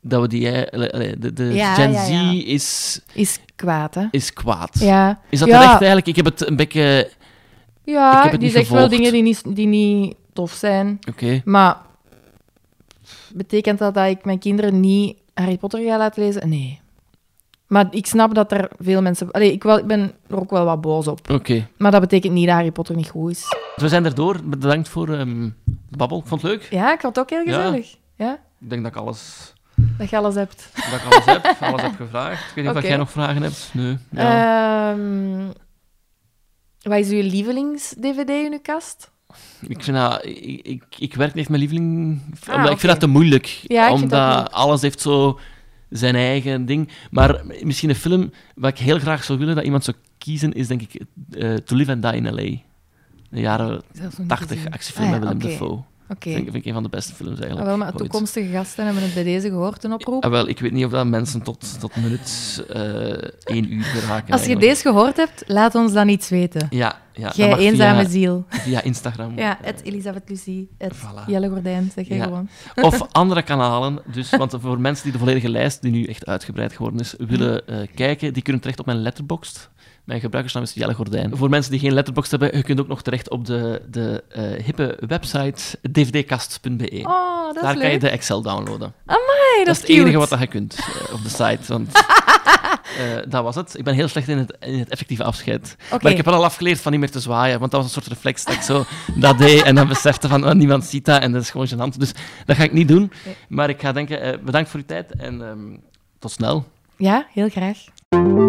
S1: dat we die... eh, allee, allee, De, de
S2: Ja,
S1: Gen
S2: ja,
S1: Z
S2: ja.
S1: Is,
S2: Is kwaad, hè?
S1: is kwaad.
S2: Ja.
S1: Is dat
S2: ja.
S1: terecht eigenlijk? Ik heb het een beetje... Ik
S2: Ja,
S1: heb het
S2: die
S1: niet
S2: zegt wel
S1: gevolgd.
S2: dingen die niet, die niet tof zijn.
S1: Oké.
S2: Maar betekent dat dat ik mijn kinderen niet Harry Potter ga laten lezen? Nee. Maar ik snap dat er veel mensen... Allee, ik, wel, ik ben er ook wel wat boos op.
S1: Oké. Dus
S2: Maar dat betekent niet dat Harry Potter niet goed is.
S1: We zijn erdoor. Bedankt voor ehm de babbel. Ik vond het leuk.
S2: Ja, ik vond het ook heel
S1: Ja.
S2: gezellig. Ja.
S1: Ik denk dat ik alles,
S2: Dat je alles hebt.
S1: dat ik alles heb. Alles heb gevraagd. Ik weet niet of
S2: Oké. Eh,
S1: jij nog vragen hebt. Nee. Ja.
S2: Ehm, wat is uw lievelings-dvd in uw kast?
S1: Ik, vind dat, ik, ik, ik werk niet met mijn lieveling. omdat Ik
S2: Ah, oké.
S1: vind dat te moeilijk.
S2: Ja, ik vind
S1: omdat
S2: dat moeilijk.
S1: alles heeft zo zijn eigen ding. Maar misschien een film wat ik heel graag zou willen dat iemand zou kiezen, is denk ik eh, To Live and Die in L.A. De jaren
S2: Zelfs nog niet
S1: 80
S2: gezien.
S1: actiefilm
S2: Ah ja,
S1: met Willem
S2: oké.
S1: Dafoe.
S2: Oké.
S1: Dat vind, ik- vind ik een van de beste films
S2: Ah,
S1: eigenlijk.
S2: wel, maar
S1: ooit.
S2: toekomstige gasten hebben het bij deze gehoord, een oproep.
S1: Ah, wel, ik weet niet of dat mensen tot, tot minuut eh één uur geraken.
S2: Als je
S1: eigenlijk.
S2: deze gehoord hebt, laat ons dan iets weten.
S1: Ja, ja. dat
S2: Jij
S1: mag
S2: eenzame
S1: via,
S2: ziel.
S1: Via Instagram.
S2: Ja, het Elisabeth Lucie, het
S1: Voilà.
S2: Jelle Gordijn, zeg jij
S1: Ja.
S2: gewoon.
S1: Of andere kanalen. Dus, want voor mensen die de volledige lijst, die nu echt uitgebreid geworden is, willen
S2: Mm.
S1: eh, kijken, die kunnen terecht op mijn letterboxd. Mijn gebruikersnaam is Jelle Gordijn. Voor mensen die geen letterboxd hebben, je kunt ook nog terecht op de, de eh, hippe website dvdkast.be.
S2: Oh, dat is
S1: e. Daar kan je
S2: leuk.
S1: de Excel downloaden.
S2: Amai, dat,
S1: dat is
S2: is
S1: het enige
S2: cute.
S1: wat dat je kunt eh, op de site. Want, eh, dat was het. Ik ben heel slecht in het, in het effectieve afscheid.
S2: Oké.
S1: Maar ik heb wel al afgeleerd van niet meer te zwaaien. Want dat was een soort reflex dat ik zo dat deed. En dan besefte van oh, niemand ziet dat. En dat is gewoon gênant. Dus dat ga ik niet doen.
S2: Nee.
S1: Maar ik ga denken, eh, bedankt voor uw tijd. En ehm, tot snel.
S2: Ja, heel graag.
S3: Thank